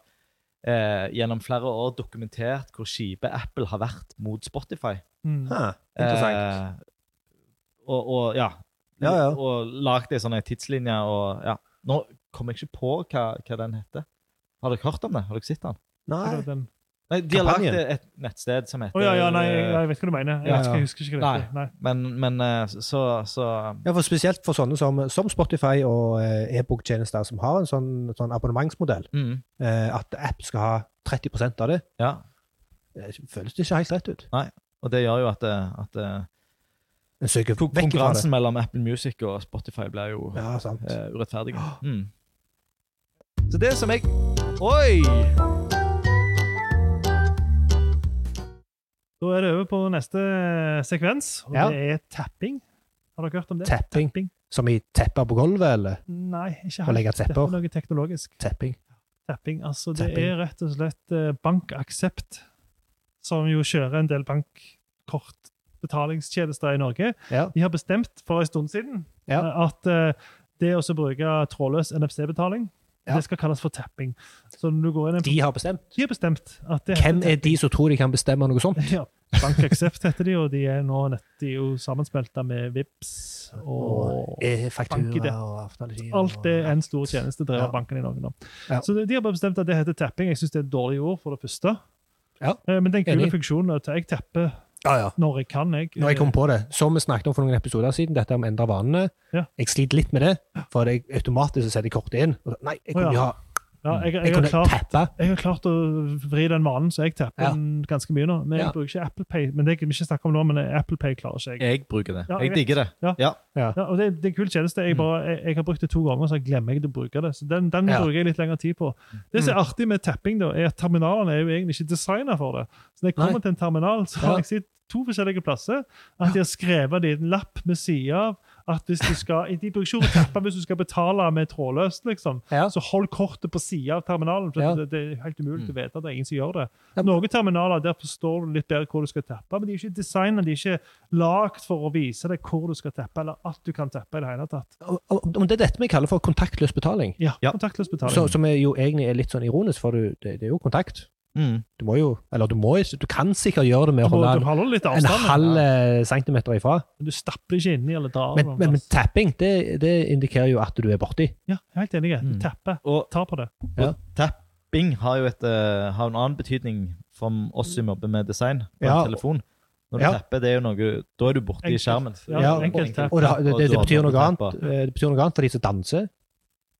Speaker 3: eh, gjennom flere år dokumentert hvor kjipe Apple har vært mot Spotify.
Speaker 1: Mm.
Speaker 2: Hæ, interessant.
Speaker 3: Eh, og, og ja.
Speaker 2: Ja, ja.
Speaker 3: Og lagd ei sånn en tidslinje og ja. Nå kommer jeg ikke på hva, hva den heter. Har dere hørt om det? Har dere sett den?
Speaker 1: Hva er
Speaker 2: Nei.
Speaker 1: det Den.
Speaker 3: Nei, De har lagd
Speaker 2: Kampanjen?
Speaker 3: et nettsted som heter
Speaker 1: Å ja, ja, nei, jeg, jeg vet hva du mener. Jeg, vet
Speaker 2: Ja,
Speaker 1: ikke-
Speaker 2: ja.
Speaker 1: jeg husker ikke det. Nei.
Speaker 3: Men, men eh, så, så
Speaker 2: Ja, for Spesielt for sånne som, som Spotify og eh, e-boktjenester som har en sånn, sånn abonnementsmodell,
Speaker 3: mm,
Speaker 2: eh, at app skal ha 30 av det,
Speaker 3: Ja.
Speaker 2: eh, føles det ikke helt rett ut.
Speaker 3: Og det gjør jo at, eh, at eh,
Speaker 2: En søker
Speaker 3: kon-
Speaker 2: vekk fra det.
Speaker 3: konkurransen mellom Apple Music og Spotify blir jo
Speaker 2: Ja, sant.
Speaker 3: eh, urettferdige. Mm. Så det som jeg Oi!
Speaker 1: Da er det over på neste eh, sekvens, og
Speaker 2: Ja.
Speaker 1: det er tapping. Har dere hørt om det?
Speaker 2: Tapping. Som i tepper på gulvet, eller
Speaker 1: Nei, ikke
Speaker 2: Å
Speaker 1: helt.
Speaker 2: legge
Speaker 1: Dette
Speaker 2: tepper?
Speaker 1: er noe teknologisk.
Speaker 2: Tapping.
Speaker 1: Tapping. Altså, det
Speaker 2: Tapping.
Speaker 1: er rett og slett eh, bankaksept, som jo kjører en del bankkortbetalingstjenester i Norge.
Speaker 2: Ja.
Speaker 1: De har bestemt for en stund siden
Speaker 2: Ja.
Speaker 1: eh, at eh, det å så bruke trådløs NFC-betaling,
Speaker 2: Ja.
Speaker 1: det skal kalles for tapping. Så når du går inn i en
Speaker 2: De har bestemt.
Speaker 1: De har bestemt at det
Speaker 2: Hvem er de som tror de kan bestemme noe sånt?
Speaker 1: Ja. BankAksept heter de, og de er nå nett, de er jo sammenspelta med VIPS og
Speaker 2: Og eh,
Speaker 1: bank i det.
Speaker 2: faktura og avtaletid.
Speaker 1: Alt det er en stor tjeneste drevet
Speaker 2: Ja.
Speaker 1: av banken i Norge nå.
Speaker 2: Ja.
Speaker 1: Så de de har bare bestemt at det heter tapping. Jeg syns det er et dårlig ord, for det første.
Speaker 2: Ja.
Speaker 1: Eh, Men det er en
Speaker 2: Enig.
Speaker 1: kul funksjon. at Jeg tapper
Speaker 2: Ja, ja.
Speaker 1: når jeg kan. Jeg,
Speaker 2: Når jeg kom på det, som vi snakket om for noen episoder siden, dette om å endre vanene.
Speaker 1: Ja.
Speaker 2: Jeg sliter litt med det, for jeg automatisk setter jeg kortet inn. Og, nei, jeg
Speaker 1: Å,
Speaker 2: kunne,
Speaker 1: ja.
Speaker 2: ha,
Speaker 1: ja, jeg, jeg,
Speaker 2: jeg
Speaker 1: har
Speaker 2: kunne
Speaker 1: klart,
Speaker 2: tappe.
Speaker 1: jeg har klart å vri den vanen, så jeg tapper
Speaker 2: Ja.
Speaker 1: den ganske mye nå. Men jeg
Speaker 2: Ja.
Speaker 1: bruker ikke Apple Pay, men det kan vi ikke snakke om nå, men Apple Pay klarer ikke jeg.
Speaker 3: Jeg bruker det.
Speaker 1: Ja, jeg
Speaker 3: jeg digger det.
Speaker 1: Ja, og det, det er en kul tjeneste. Jeg,
Speaker 3: Mm.
Speaker 1: bare, jeg, jeg har brukt det to ganger, så jeg glemmer jeg å bruke det. Så den, den
Speaker 2: Ja. Mm.
Speaker 1: bruker jeg litt lengre tid på. Det som er artig med tapping, da, er at terminalene er jo egentlig ikke designa for det. Så når jeg kommer
Speaker 2: Nei.
Speaker 1: til en terminal, så
Speaker 2: Ja.
Speaker 1: har jeg sett to forskjellige plasser at de har skrevet det i en lapp ved sida av at hvis du skal, De bruker ikke ordet tappe hvis du skal betale med trådløst, liksom.
Speaker 2: Ja.
Speaker 1: Så hold kortet på sida av terminalen. for
Speaker 2: Ja. Mm.
Speaker 1: det, det er helt umulig å vite at det er ingen som gjør det.
Speaker 2: Ja.
Speaker 1: Noen terminaler der forstår du litt bedre hvor du skal tappe, men de er ikke designet, de er ikke lagd for å vise deg hvor du skal tappe, eller at du kan tappe i det hele tatt.
Speaker 2: Og- og- Om det er dette vi kaller for kontaktløs betaling,
Speaker 1: Ja,
Speaker 3: Ja.
Speaker 1: kontaktløs
Speaker 2: så,
Speaker 1: betaling.
Speaker 2: som er jo egentlig er litt sånn ironisk, for du, det, det er jo kontakt.
Speaker 3: Mm.
Speaker 2: Du må jo, eller du må ikke, du kan sikkert gjøre det med
Speaker 1: Du
Speaker 2: å
Speaker 1: må-
Speaker 2: holde
Speaker 1: du
Speaker 2: en,
Speaker 1: holder litt
Speaker 2: en
Speaker 1: avstand,
Speaker 2: halv eh, centimeter ifra.
Speaker 1: men du stapper ikke inni eller drar.
Speaker 2: Men,
Speaker 1: noen
Speaker 2: men, men
Speaker 1: plass.
Speaker 2: tapping, det, det indikerer jo at du er borti.
Speaker 1: ja, jeg er helt enig. Du
Speaker 3: Mm.
Speaker 1: tapper.
Speaker 3: Og
Speaker 1: Tar på det.
Speaker 3: tapping har jo et, eh, har en annen betydning for oss som jobber med design på
Speaker 2: Ja.
Speaker 3: en telefon. Når du
Speaker 2: Ja.
Speaker 3: tapper, det er jo noe, da er du borte i
Speaker 1: Enkelt.
Speaker 3: skjermen.
Speaker 1: Ja,
Speaker 2: Ja,
Speaker 1: enkelt tapp.
Speaker 2: Og det, det, det,
Speaker 3: du har
Speaker 2: betyr noe
Speaker 3: tappet.
Speaker 2: annet, eh, det betyr noe annet for de som danser.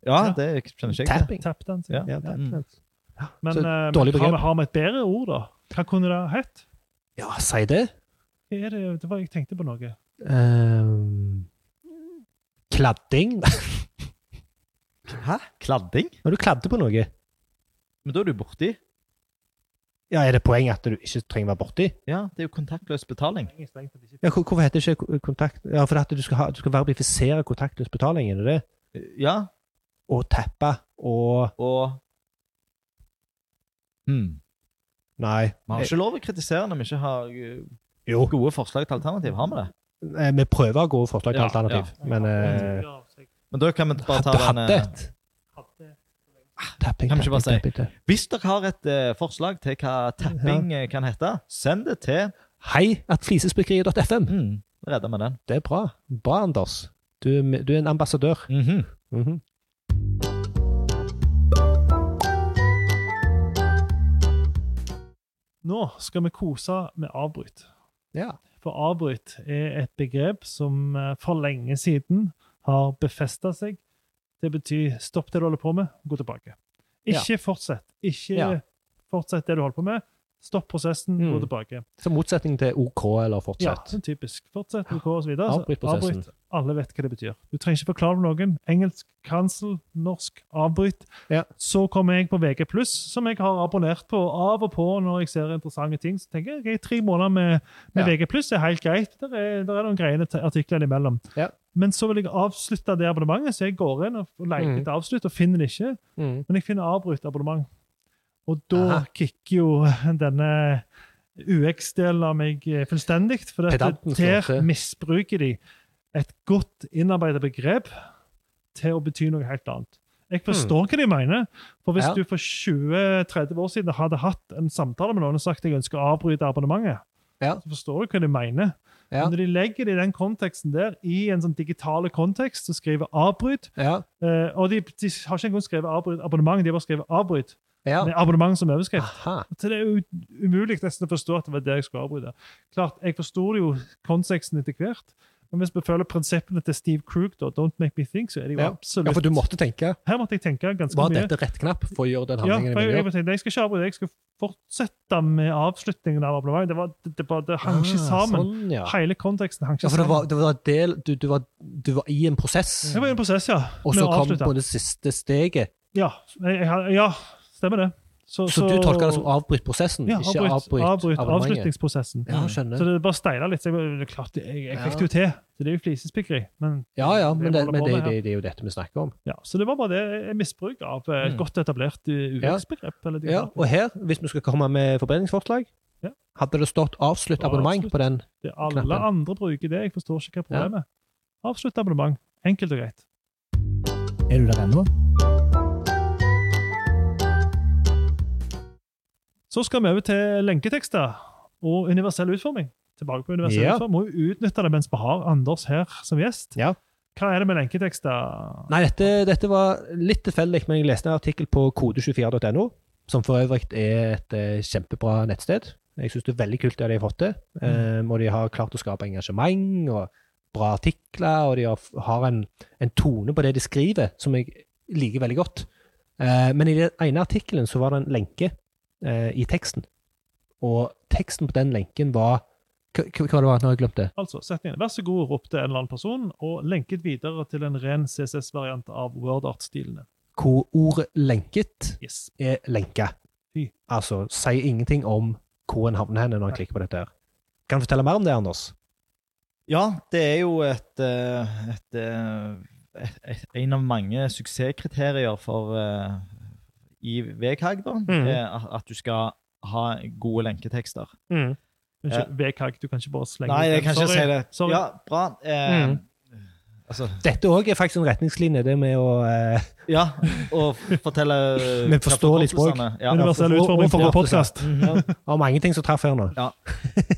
Speaker 3: Ja,
Speaker 1: Ja.
Speaker 3: det kjenner ikke jeg til.
Speaker 2: Tapping.
Speaker 1: Tapp den.
Speaker 3: Ja. Mm.
Speaker 2: Ja, tapping.
Speaker 1: Men
Speaker 2: Så
Speaker 1: eh, men
Speaker 2: dårlig
Speaker 1: har,
Speaker 2: begrep.
Speaker 1: vi, har vi et bedre ord, da? Hva kunne det ha hett?
Speaker 2: ja si det.
Speaker 1: Hva er det, det var jeg tenkte på noe.
Speaker 2: Ehm, kladding?
Speaker 3: Hæ? Kladding?
Speaker 2: Når du kladder på noe,
Speaker 3: Men da er du borti.
Speaker 2: ja, er det poeng at du ikke trenger være borti?
Speaker 3: Ja, det er jo kontaktløs betaling.
Speaker 2: Ja, hvor- hvorfor heter det ikke ko- kontakt... Ja, for at du skal, ha, du skal verifisere kontaktløs betaling, er det det?
Speaker 3: Ja,
Speaker 2: Og tappe og
Speaker 3: og
Speaker 2: Hmm.
Speaker 3: mm.
Speaker 2: Nei.
Speaker 3: Vi har ikke lov å kritisere når vi ikke har eh,
Speaker 2: Jo,
Speaker 3: gode forslag til alternativ. Har vi det?
Speaker 2: eh, vi prøver å gå forslag til
Speaker 3: Ja,
Speaker 2: alternativ, men eh,
Speaker 3: Men da kan vi bare ta
Speaker 2: Hadde
Speaker 3: den
Speaker 2: hadde
Speaker 3: eh,
Speaker 2: et tapping,
Speaker 3: Kan vi ikke bare
Speaker 2: tapping,
Speaker 3: si-
Speaker 2: tapping, tapping.
Speaker 3: Hvis dere har et eh, forslag til hva tapping eh, kan hete, send det til
Speaker 2: Hei at flisespikkeriet.fm.
Speaker 3: mm, Redda med den.
Speaker 2: Det er bra. Bra, Anders. Du, er med- du er en ambassadør.
Speaker 3: Mhm.
Speaker 2: Mhm.
Speaker 1: Nå skal vi kose med avbryt.
Speaker 2: Ja.
Speaker 1: For avbryt er et begrep som eh, for lenge siden har befesta seg. Det betyr stopp det du holder på med, gå tilbake. Ikke fortsett. Ikke
Speaker 2: Ja.
Speaker 1: fortsett det du holder på med. Stopp prosessen,
Speaker 2: Mm.
Speaker 1: gå tilbake.
Speaker 2: Så motsetning til OK eller
Speaker 1: Ja,
Speaker 2: fortsett.
Speaker 1: sånn typisk. Fortsett OK osv.
Speaker 2: Avbryt prosessen.
Speaker 1: Alle vet hva det betyr. Du trenger ikke forklare det til noen. Engelsk, cancel, norsk, avbryt.
Speaker 2: Ja.
Speaker 1: Så kommer jeg på VG+, som jeg har abonnert på av og på når jeg ser interessante ting. Så tenker jeg ok, tre måneder med, med VG+, er helt greit. Der er, der er noen greiene til- artikler imellom.
Speaker 2: Ja.
Speaker 1: Men så vil jeg avslutte det abonnementet, så jeg går inn og leter
Speaker 2: Mhm.
Speaker 1: etter avslutt og finner det ikke.
Speaker 2: Mm.
Speaker 1: Men jeg finner avbrutt abonnement. Og da
Speaker 2: Aha.
Speaker 1: kicker jo denne UX-delen av meg eh, fullstendig. For dette,
Speaker 2: Pedanten slår
Speaker 1: der
Speaker 2: til.
Speaker 1: misbruker de et godt innarbeidet begrep til å bety noe helt annet. Jeg forstår hva de mener. For hvis
Speaker 2: Hmm. Ja.
Speaker 1: du for 20-30 år siden hadde hatt en samtale med noen og sagt jeg ønsker å avbryte abonnementet,
Speaker 2: Ja.
Speaker 1: så forstår du hva de mener.
Speaker 2: Ja.
Speaker 1: Men Når de legger det i den konteksten der, i en sånn digitale kontekst, og skriver 'avbryt',
Speaker 2: Ja.
Speaker 1: Eh, og de, de har ikke engang skrevet avbryt, abonnement, de har bare skrevet avbryt.
Speaker 2: ja.
Speaker 1: Med abonnement som overskrift.
Speaker 2: Aha.
Speaker 1: Så det er jo umulig nesten å forstå at det var det jeg skulle avbryte. Klart, Jeg forsto det jo konteksten etter hvert, men hvis vi følger prinsippene til Steve Krug, da, Don't Make Me Think, så er det jo
Speaker 2: Ja.
Speaker 1: absolutt
Speaker 2: ja, for du måtte tenke
Speaker 1: Her måtte jeg tenke ganske
Speaker 2: Var
Speaker 1: mye.
Speaker 2: dette rett knapp for å gjøre den
Speaker 1: Ja, for
Speaker 2: handlingen
Speaker 1: jeg,
Speaker 2: jeg
Speaker 1: jeg,
Speaker 2: vil gjøre?
Speaker 1: tenkte, jeg skal ikke avbryte, jeg skal fortsette med avslutningen av abonnementet. Det, var, det, det, bare- det hang ikke
Speaker 2: Ah,
Speaker 1: sammen.
Speaker 2: Sånn, ja.
Speaker 1: Hele konteksten hang
Speaker 2: ja,
Speaker 1: ikke
Speaker 2: for det
Speaker 1: sammen.
Speaker 2: var, det var del, du, du, var, du var i en prosess,
Speaker 1: Det var jo en prosess, ja.
Speaker 2: og
Speaker 1: med
Speaker 2: så
Speaker 1: å
Speaker 2: kom
Speaker 1: avslutte.
Speaker 2: på det siste steget.
Speaker 1: Ja, jeg, jeg, har- ja, stemmer det.
Speaker 2: Så, du tolka det som avbryt prosessen,
Speaker 1: Ja,
Speaker 2: Mm. ikke
Speaker 1: avbryt,
Speaker 2: avbryt,
Speaker 1: avbryt
Speaker 2: abonnementet?
Speaker 1: avslutningsprosessen.
Speaker 2: Ja,
Speaker 1: Så
Speaker 2: skjønner.
Speaker 1: det bare steila litt. så Jeg, det er klart, jeg, jeg fikk det jo til. Så det er jo flisespikkeri. Men
Speaker 2: Ja, ja, men, det,
Speaker 1: holder
Speaker 2: men
Speaker 1: på
Speaker 2: det,
Speaker 1: med her.
Speaker 2: det, det er jo dette vi snakker om.
Speaker 1: ja, så det var bare det. eh, Misbruk av eh, et
Speaker 3: Mm.
Speaker 1: godt etablert eh,
Speaker 2: Ja.
Speaker 1: UX-begrep. eller
Speaker 2: Ja, og her, hvis vi skal komme med forbedringsforslag,
Speaker 1: Ja.
Speaker 2: hadde det stått 'avslutt
Speaker 1: Ja,
Speaker 2: abonnement'
Speaker 1: avslutt.
Speaker 2: på den?
Speaker 1: det, alle
Speaker 2: knappen.
Speaker 1: andre bruker det. Jeg forstår ikke hva problemet er. Avslutt abonnement. Enkelt og greit.
Speaker 2: Er du der ennå?
Speaker 1: Så skal vi over til lenketekster og universell utforming. Tilbake på universell
Speaker 2: Ja.
Speaker 1: utforming. Må jo utnytte det mens vi har Anders her som gjest.
Speaker 2: Ja.
Speaker 1: Hva er det med lenketekster?
Speaker 2: Nei, dette, dette var litt tilfeldig, men jeg leste en artikkel på kode24.no, som for øvrig er et eh, kjempebra nettsted. Jeg syns det er veldig kult det de har fått til. Eh, og de har klart å skape engasjement og bra artikler, og de har, har en, en tone på det de skriver som jeg liker veldig godt. Eh, men i den ene artikkelen så var det en lenke eh, i teksten, og teksten på den lenken var Hva, hva hva var det? Nå har jeg glemt det.
Speaker 1: Altså, setningen 'Vær så god' ropte en eller annen person, og lenket videre til en ren CSS-variant av WordArt-stilene.
Speaker 2: Hvor ordet 'lenket'
Speaker 1: Yes.
Speaker 2: er lenka.
Speaker 1: Fy.
Speaker 2: Altså, sier ingenting om hvor en havner henne når en klikker på dette. her. Kan du fortelle mer om det, Anders?
Speaker 3: Ja, det er jo et, eh, et, eh, et, et En av mange suksesskriterier for eh, i VKG, da,
Speaker 2: Mhm.
Speaker 3: er at- at du skal ha gode lenketekster.
Speaker 2: Mm.
Speaker 1: Unnskyld, VKG, du kan ikke bare slenge
Speaker 3: Nei, jeg kan ikke si det.
Speaker 1: Sorry.
Speaker 3: Ja, bra. Eh,
Speaker 2: Mhm.
Speaker 3: Altså,
Speaker 2: Dette òg er faktisk en retningslinje, det med å eh,
Speaker 3: ja, og fortelle
Speaker 2: Med forståelig språk.
Speaker 3: forkortelsene. Ja.
Speaker 1: Universell
Speaker 2: Ja, for-
Speaker 1: utforming
Speaker 2: for-
Speaker 1: for
Speaker 2: for-
Speaker 1: podkast.
Speaker 3: Ja.
Speaker 2: Av mange ting som traff her nå.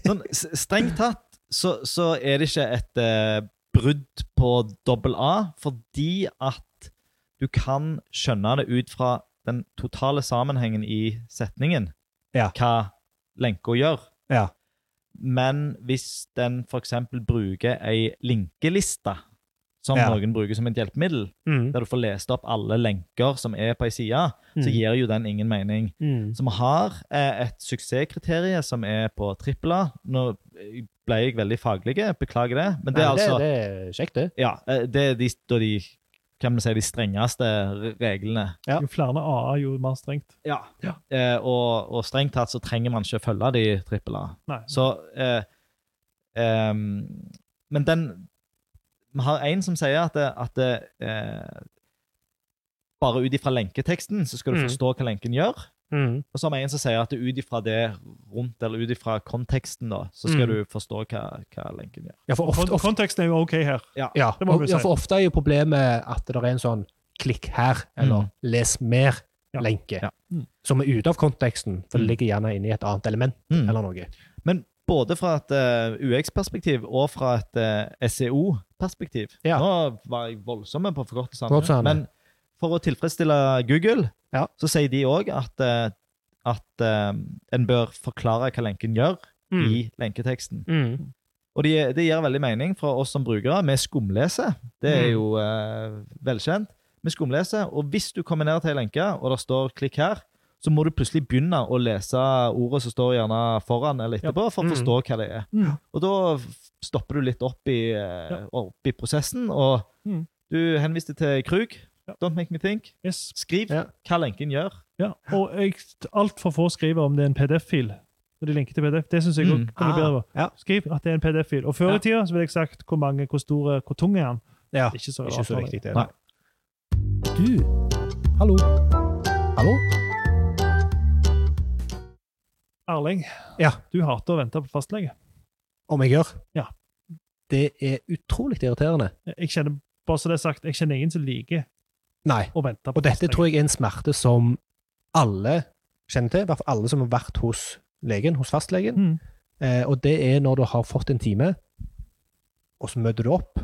Speaker 3: Sånn, s- strengt tatt så, så er det ikke et eh, brudd på dobbel A, fordi at du kan skjønne det ut fra den totale sammenhengen i setningen,
Speaker 2: Ja.
Speaker 3: hva lenka gjør.
Speaker 2: Ja.
Speaker 3: Men hvis den f.eks. bruker ei linkeliste, som
Speaker 2: Ja.
Speaker 3: noen bruker som et hjelpemiddel,
Speaker 2: Mm.
Speaker 3: der du får lest opp alle lenker som er på ei side, så
Speaker 2: Mm.
Speaker 3: gir jo den ingen mening.
Speaker 2: Mm.
Speaker 3: Så vi har eh, et suksesskriterium som er på trippel A. Nå eh, ble jeg veldig faglig, beklager det. Men det er
Speaker 2: Nei,
Speaker 3: altså
Speaker 2: det, det er kjekt, det.
Speaker 3: Ja, eh, det er de, da de, kan vi si, de strengeste re- reglene.
Speaker 2: Ja.
Speaker 1: Jo flere A-er, jo mer strengt.
Speaker 3: Eh, og, og strengt tatt så trenger man ikke følge de trippel A.
Speaker 1: Nei.
Speaker 3: Så eh, ehm, Men den Vi har en som sier at, det- at det, eh, bare ut ifra lenketeksten så skal du
Speaker 2: Mm.
Speaker 3: forstå hva lenken gjør.
Speaker 2: Mm.
Speaker 3: Og så har vi en som sier at ut ifra det rundt, eller ut ifra konteksten, da, så skal
Speaker 2: Mm.
Speaker 3: du forstå hva, hva lenken gjør.
Speaker 2: Ja, for ofte,
Speaker 1: Kon-
Speaker 2: ofte,
Speaker 1: Konteksten er jo OK her.
Speaker 2: ja.
Speaker 1: det må vi
Speaker 2: Og-
Speaker 1: si.
Speaker 2: ja, for ofte er jo problemet at det er en sånn 'klikk her' eller
Speaker 3: Mm.
Speaker 2: 'les mer'
Speaker 1: Ja.
Speaker 2: lenke,
Speaker 3: Ja.
Speaker 1: Mm.
Speaker 2: som er ute av konteksten, for det
Speaker 3: Mm.
Speaker 2: ligger gjerne inne i et annet element
Speaker 3: Mm.
Speaker 2: eller noe.
Speaker 3: Men både fra et eh, UX-perspektiv og fra et eh, SEO-perspektiv
Speaker 2: Ja.
Speaker 3: Nå var jeg voldsom på forkortelsene.
Speaker 2: Forkortelsene.
Speaker 3: Men for å tilfredsstille Google,
Speaker 2: Ja.
Speaker 3: så sier de òg at, eh, at eh, en bør forklare hva lenken gjør
Speaker 1: Mm.
Speaker 3: i lenketeksten.
Speaker 2: Mm.
Speaker 3: Og det det gir veldig mening fra oss som brukere. Vi skumleser. Det er jo eh, velkjent. Vi skumleser, og hvis du kommer ned til en lenke, og det står 'klikk her', så må du plutselig begynne å lese ordet som står gjerne foran eller etterpå, for å
Speaker 2: Mm.
Speaker 3: forstå hva det er.
Speaker 1: Mm.
Speaker 3: Og da f- stopper du litt opp i, eh,
Speaker 1: Ja.
Speaker 3: opp i prosessen, og
Speaker 1: Mm.
Speaker 3: du henviste til Krug.
Speaker 1: Ja.
Speaker 3: Don't make me think.
Speaker 1: Yes.
Speaker 3: Skriv
Speaker 2: Ja.
Speaker 3: hva lenken gjør.
Speaker 1: Ja, og altfor få skriver om det er en PDF-fil. Når de linker til PDF. Det syns jeg
Speaker 3: Mm.
Speaker 1: også kunne
Speaker 2: Ah,
Speaker 1: bedre. vært.
Speaker 2: ja.
Speaker 1: Skriv at det er en PDF-fil. Og før
Speaker 2: Ja.
Speaker 1: i tida så ville jeg sagt hvor mange, hvor stor, hvor tung er den.
Speaker 2: Ja,
Speaker 1: Ikke så,
Speaker 2: ikke så
Speaker 1: rart.
Speaker 2: viktig det.
Speaker 1: Nei.
Speaker 2: Du, hallo. Hallo?
Speaker 1: Erling,
Speaker 2: Ja.
Speaker 1: du hater å vente på fastlege.
Speaker 2: Om jeg gjør?
Speaker 1: Ja.
Speaker 2: Det er utrolig irriterende.
Speaker 1: Jeg kjenner bare så det er sagt, jeg kjenner ingen som liker
Speaker 2: Nei.
Speaker 1: å vente på
Speaker 2: Og dette
Speaker 1: fastlege.
Speaker 2: tror jeg er en smerte som alle kjenner til, i hvert fall alle som har vært hos legen, hos fastlegen.
Speaker 1: Mm.
Speaker 2: Eh, og det er når du har fått en time, og så møter du opp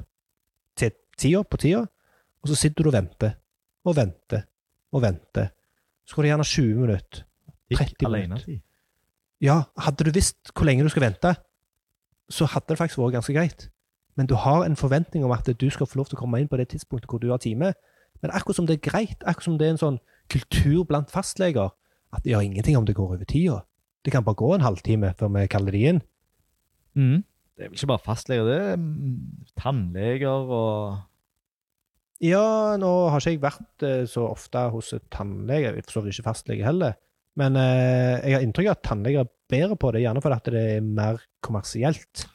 Speaker 2: til tida på tida, og så sitter du og venter og venter og venter. Så går det gjerne 20 minutter.
Speaker 3: Gikk
Speaker 2: 30
Speaker 3: alene.
Speaker 2: Ja, hadde du visst hvor lenge du skal vente, så hadde det faktisk vært ganske greit. Men du har en forventning om at du skal få lov til å komme inn på det tidspunktet hvor du har time. Men akkurat som det er greit, akkurat som det er en sånn kultur blant fastleger, at de gjør ingenting om det går over tida. Det kan bare gå en halvtime før vi kaller de inn.
Speaker 3: Mm. Det er vel ikke bare fastleger, det er mm, tannleger og
Speaker 2: Ja, nå har ikke jeg vært eh, så ofte hos et tannlege, for så vidt ikke fastlege heller. Men eh, jeg har inntrykk av at tannleger er bedre på det, gjerne fordi at det er mer kommersielt.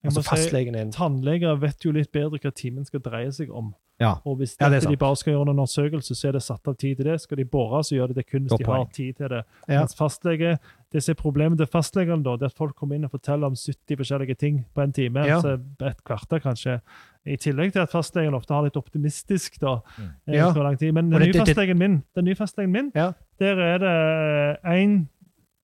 Speaker 1: Jeg må
Speaker 2: Altså
Speaker 1: si,
Speaker 2: fastlegen er en
Speaker 1: Tannleger vet jo litt bedre hva timen skal dreie seg om.
Speaker 2: Ja.
Speaker 1: Og hvis
Speaker 2: Ja, det er
Speaker 1: dette de
Speaker 2: sant.
Speaker 1: bare skal gjøre en undersøkelse, så er det satt av tid til det. Skal de bore, så gjør de det kun hvis
Speaker 2: Godt
Speaker 1: de
Speaker 2: poeng.
Speaker 1: har tid til det.
Speaker 2: Ja.
Speaker 1: Mens fastlege, det som er problemet til fastlegene, da, det er at folk kommer inn og forteller om 70 forskjellige ting på en time.
Speaker 2: Ja.
Speaker 1: Altså et kvarter, kanskje. I tillegg til at fastlegen ofte har litt optimistisk, da.
Speaker 3: Mm.
Speaker 1: eh,
Speaker 2: Ja.
Speaker 1: så lang tid. Men den
Speaker 2: Og det-
Speaker 1: nye
Speaker 2: det- det-
Speaker 1: fastlegen min, den nye fastlegen min
Speaker 2: Ja.
Speaker 1: der er det én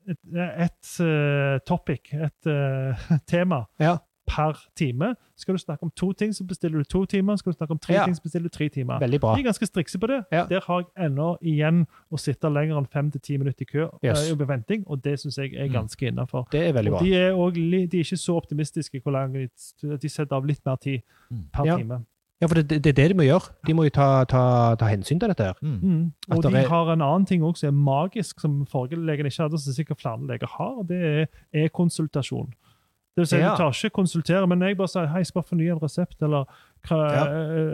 Speaker 1: et, et eh, topic, et eh, tema,
Speaker 2: Ja.
Speaker 1: per time. Skal du snakke om to ting, så bestiller du to timer. Skal du snakke om tre
Speaker 2: Ja.
Speaker 1: ting, så bestiller du tre timer.
Speaker 2: veldig bra.
Speaker 1: De er ganske strikse på det.
Speaker 2: Ja.
Speaker 1: Der har jeg ennå igjen å sitte lenger enn fem til ti minutter i kø
Speaker 2: Yes.
Speaker 1: eh, i venting, og det syns jeg er ganske innafor.
Speaker 2: Det er veldig bra.
Speaker 1: De er, også li- de er ikke så optimistiske hvor lang de de setter av litt mer tid
Speaker 3: Mm.
Speaker 1: per
Speaker 2: Ja.
Speaker 1: time.
Speaker 2: Ja, for det, det, det er det de må gjøre. De må jo ta, ta, ta hensyn til dette her.
Speaker 3: mm.
Speaker 1: Mm.
Speaker 2: At
Speaker 1: Og
Speaker 2: det
Speaker 1: de
Speaker 2: er-
Speaker 1: har en annen ting også som er magisk, som forrige legen ikke hadde, og som sikkert flere leger har, og det er e-konsultasjon. Det vil si,
Speaker 2: Ja.
Speaker 1: Du tar ikke konsultere, men jeg bare sier hei, jeg skal bare fornye en resept, eller, hva-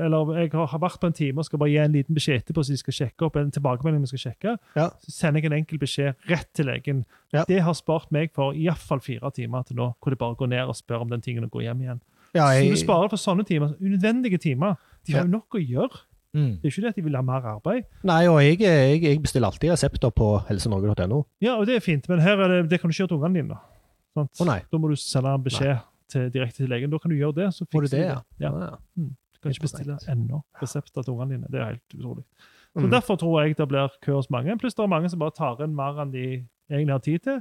Speaker 1: eller jeg har har vært på en time og skal bare gi en liten beskjed etterpå, så de skal sjekke opp en tilbakemelding vi skal sjekke.
Speaker 2: Ja.
Speaker 1: Så sender jeg en enkel beskjed rett til legen.
Speaker 2: Ja.
Speaker 1: Det har spart meg for iallfall fire timer til nå, hvor de bare går ned og spør om den tingen og går hjem igjen.
Speaker 2: Ja,
Speaker 1: Så
Speaker 2: jeg,
Speaker 1: du sparer for sånne timer, unødvendige timer. De har jo nok å gjøre.
Speaker 3: Mm.
Speaker 1: Det er jo ikke det at de vil ha mer arbeid.
Speaker 2: nei, og jeg, jeg, jeg bestiller alltid resepter på helsenorge.no.
Speaker 1: Ja, og det er fint, men her er det, det kan du ikke gjøre til ungene dine. da. Sant?
Speaker 2: Å, nei.
Speaker 1: Da må du sende en beskjed til, direkte til legen. Da kan du gjøre det. så
Speaker 2: Må du
Speaker 1: fikser de
Speaker 2: det,
Speaker 1: Ja.
Speaker 2: Ja.
Speaker 1: Du kan ikke bestille
Speaker 2: Interessant.
Speaker 1: ennå resepter til ungene dine. Det er helt utrolig. Så
Speaker 2: Mm.
Speaker 1: Derfor tror jeg det blir kø hos mange. Pluss det er mange som bare tar inn mer enn de egentlig har tid til.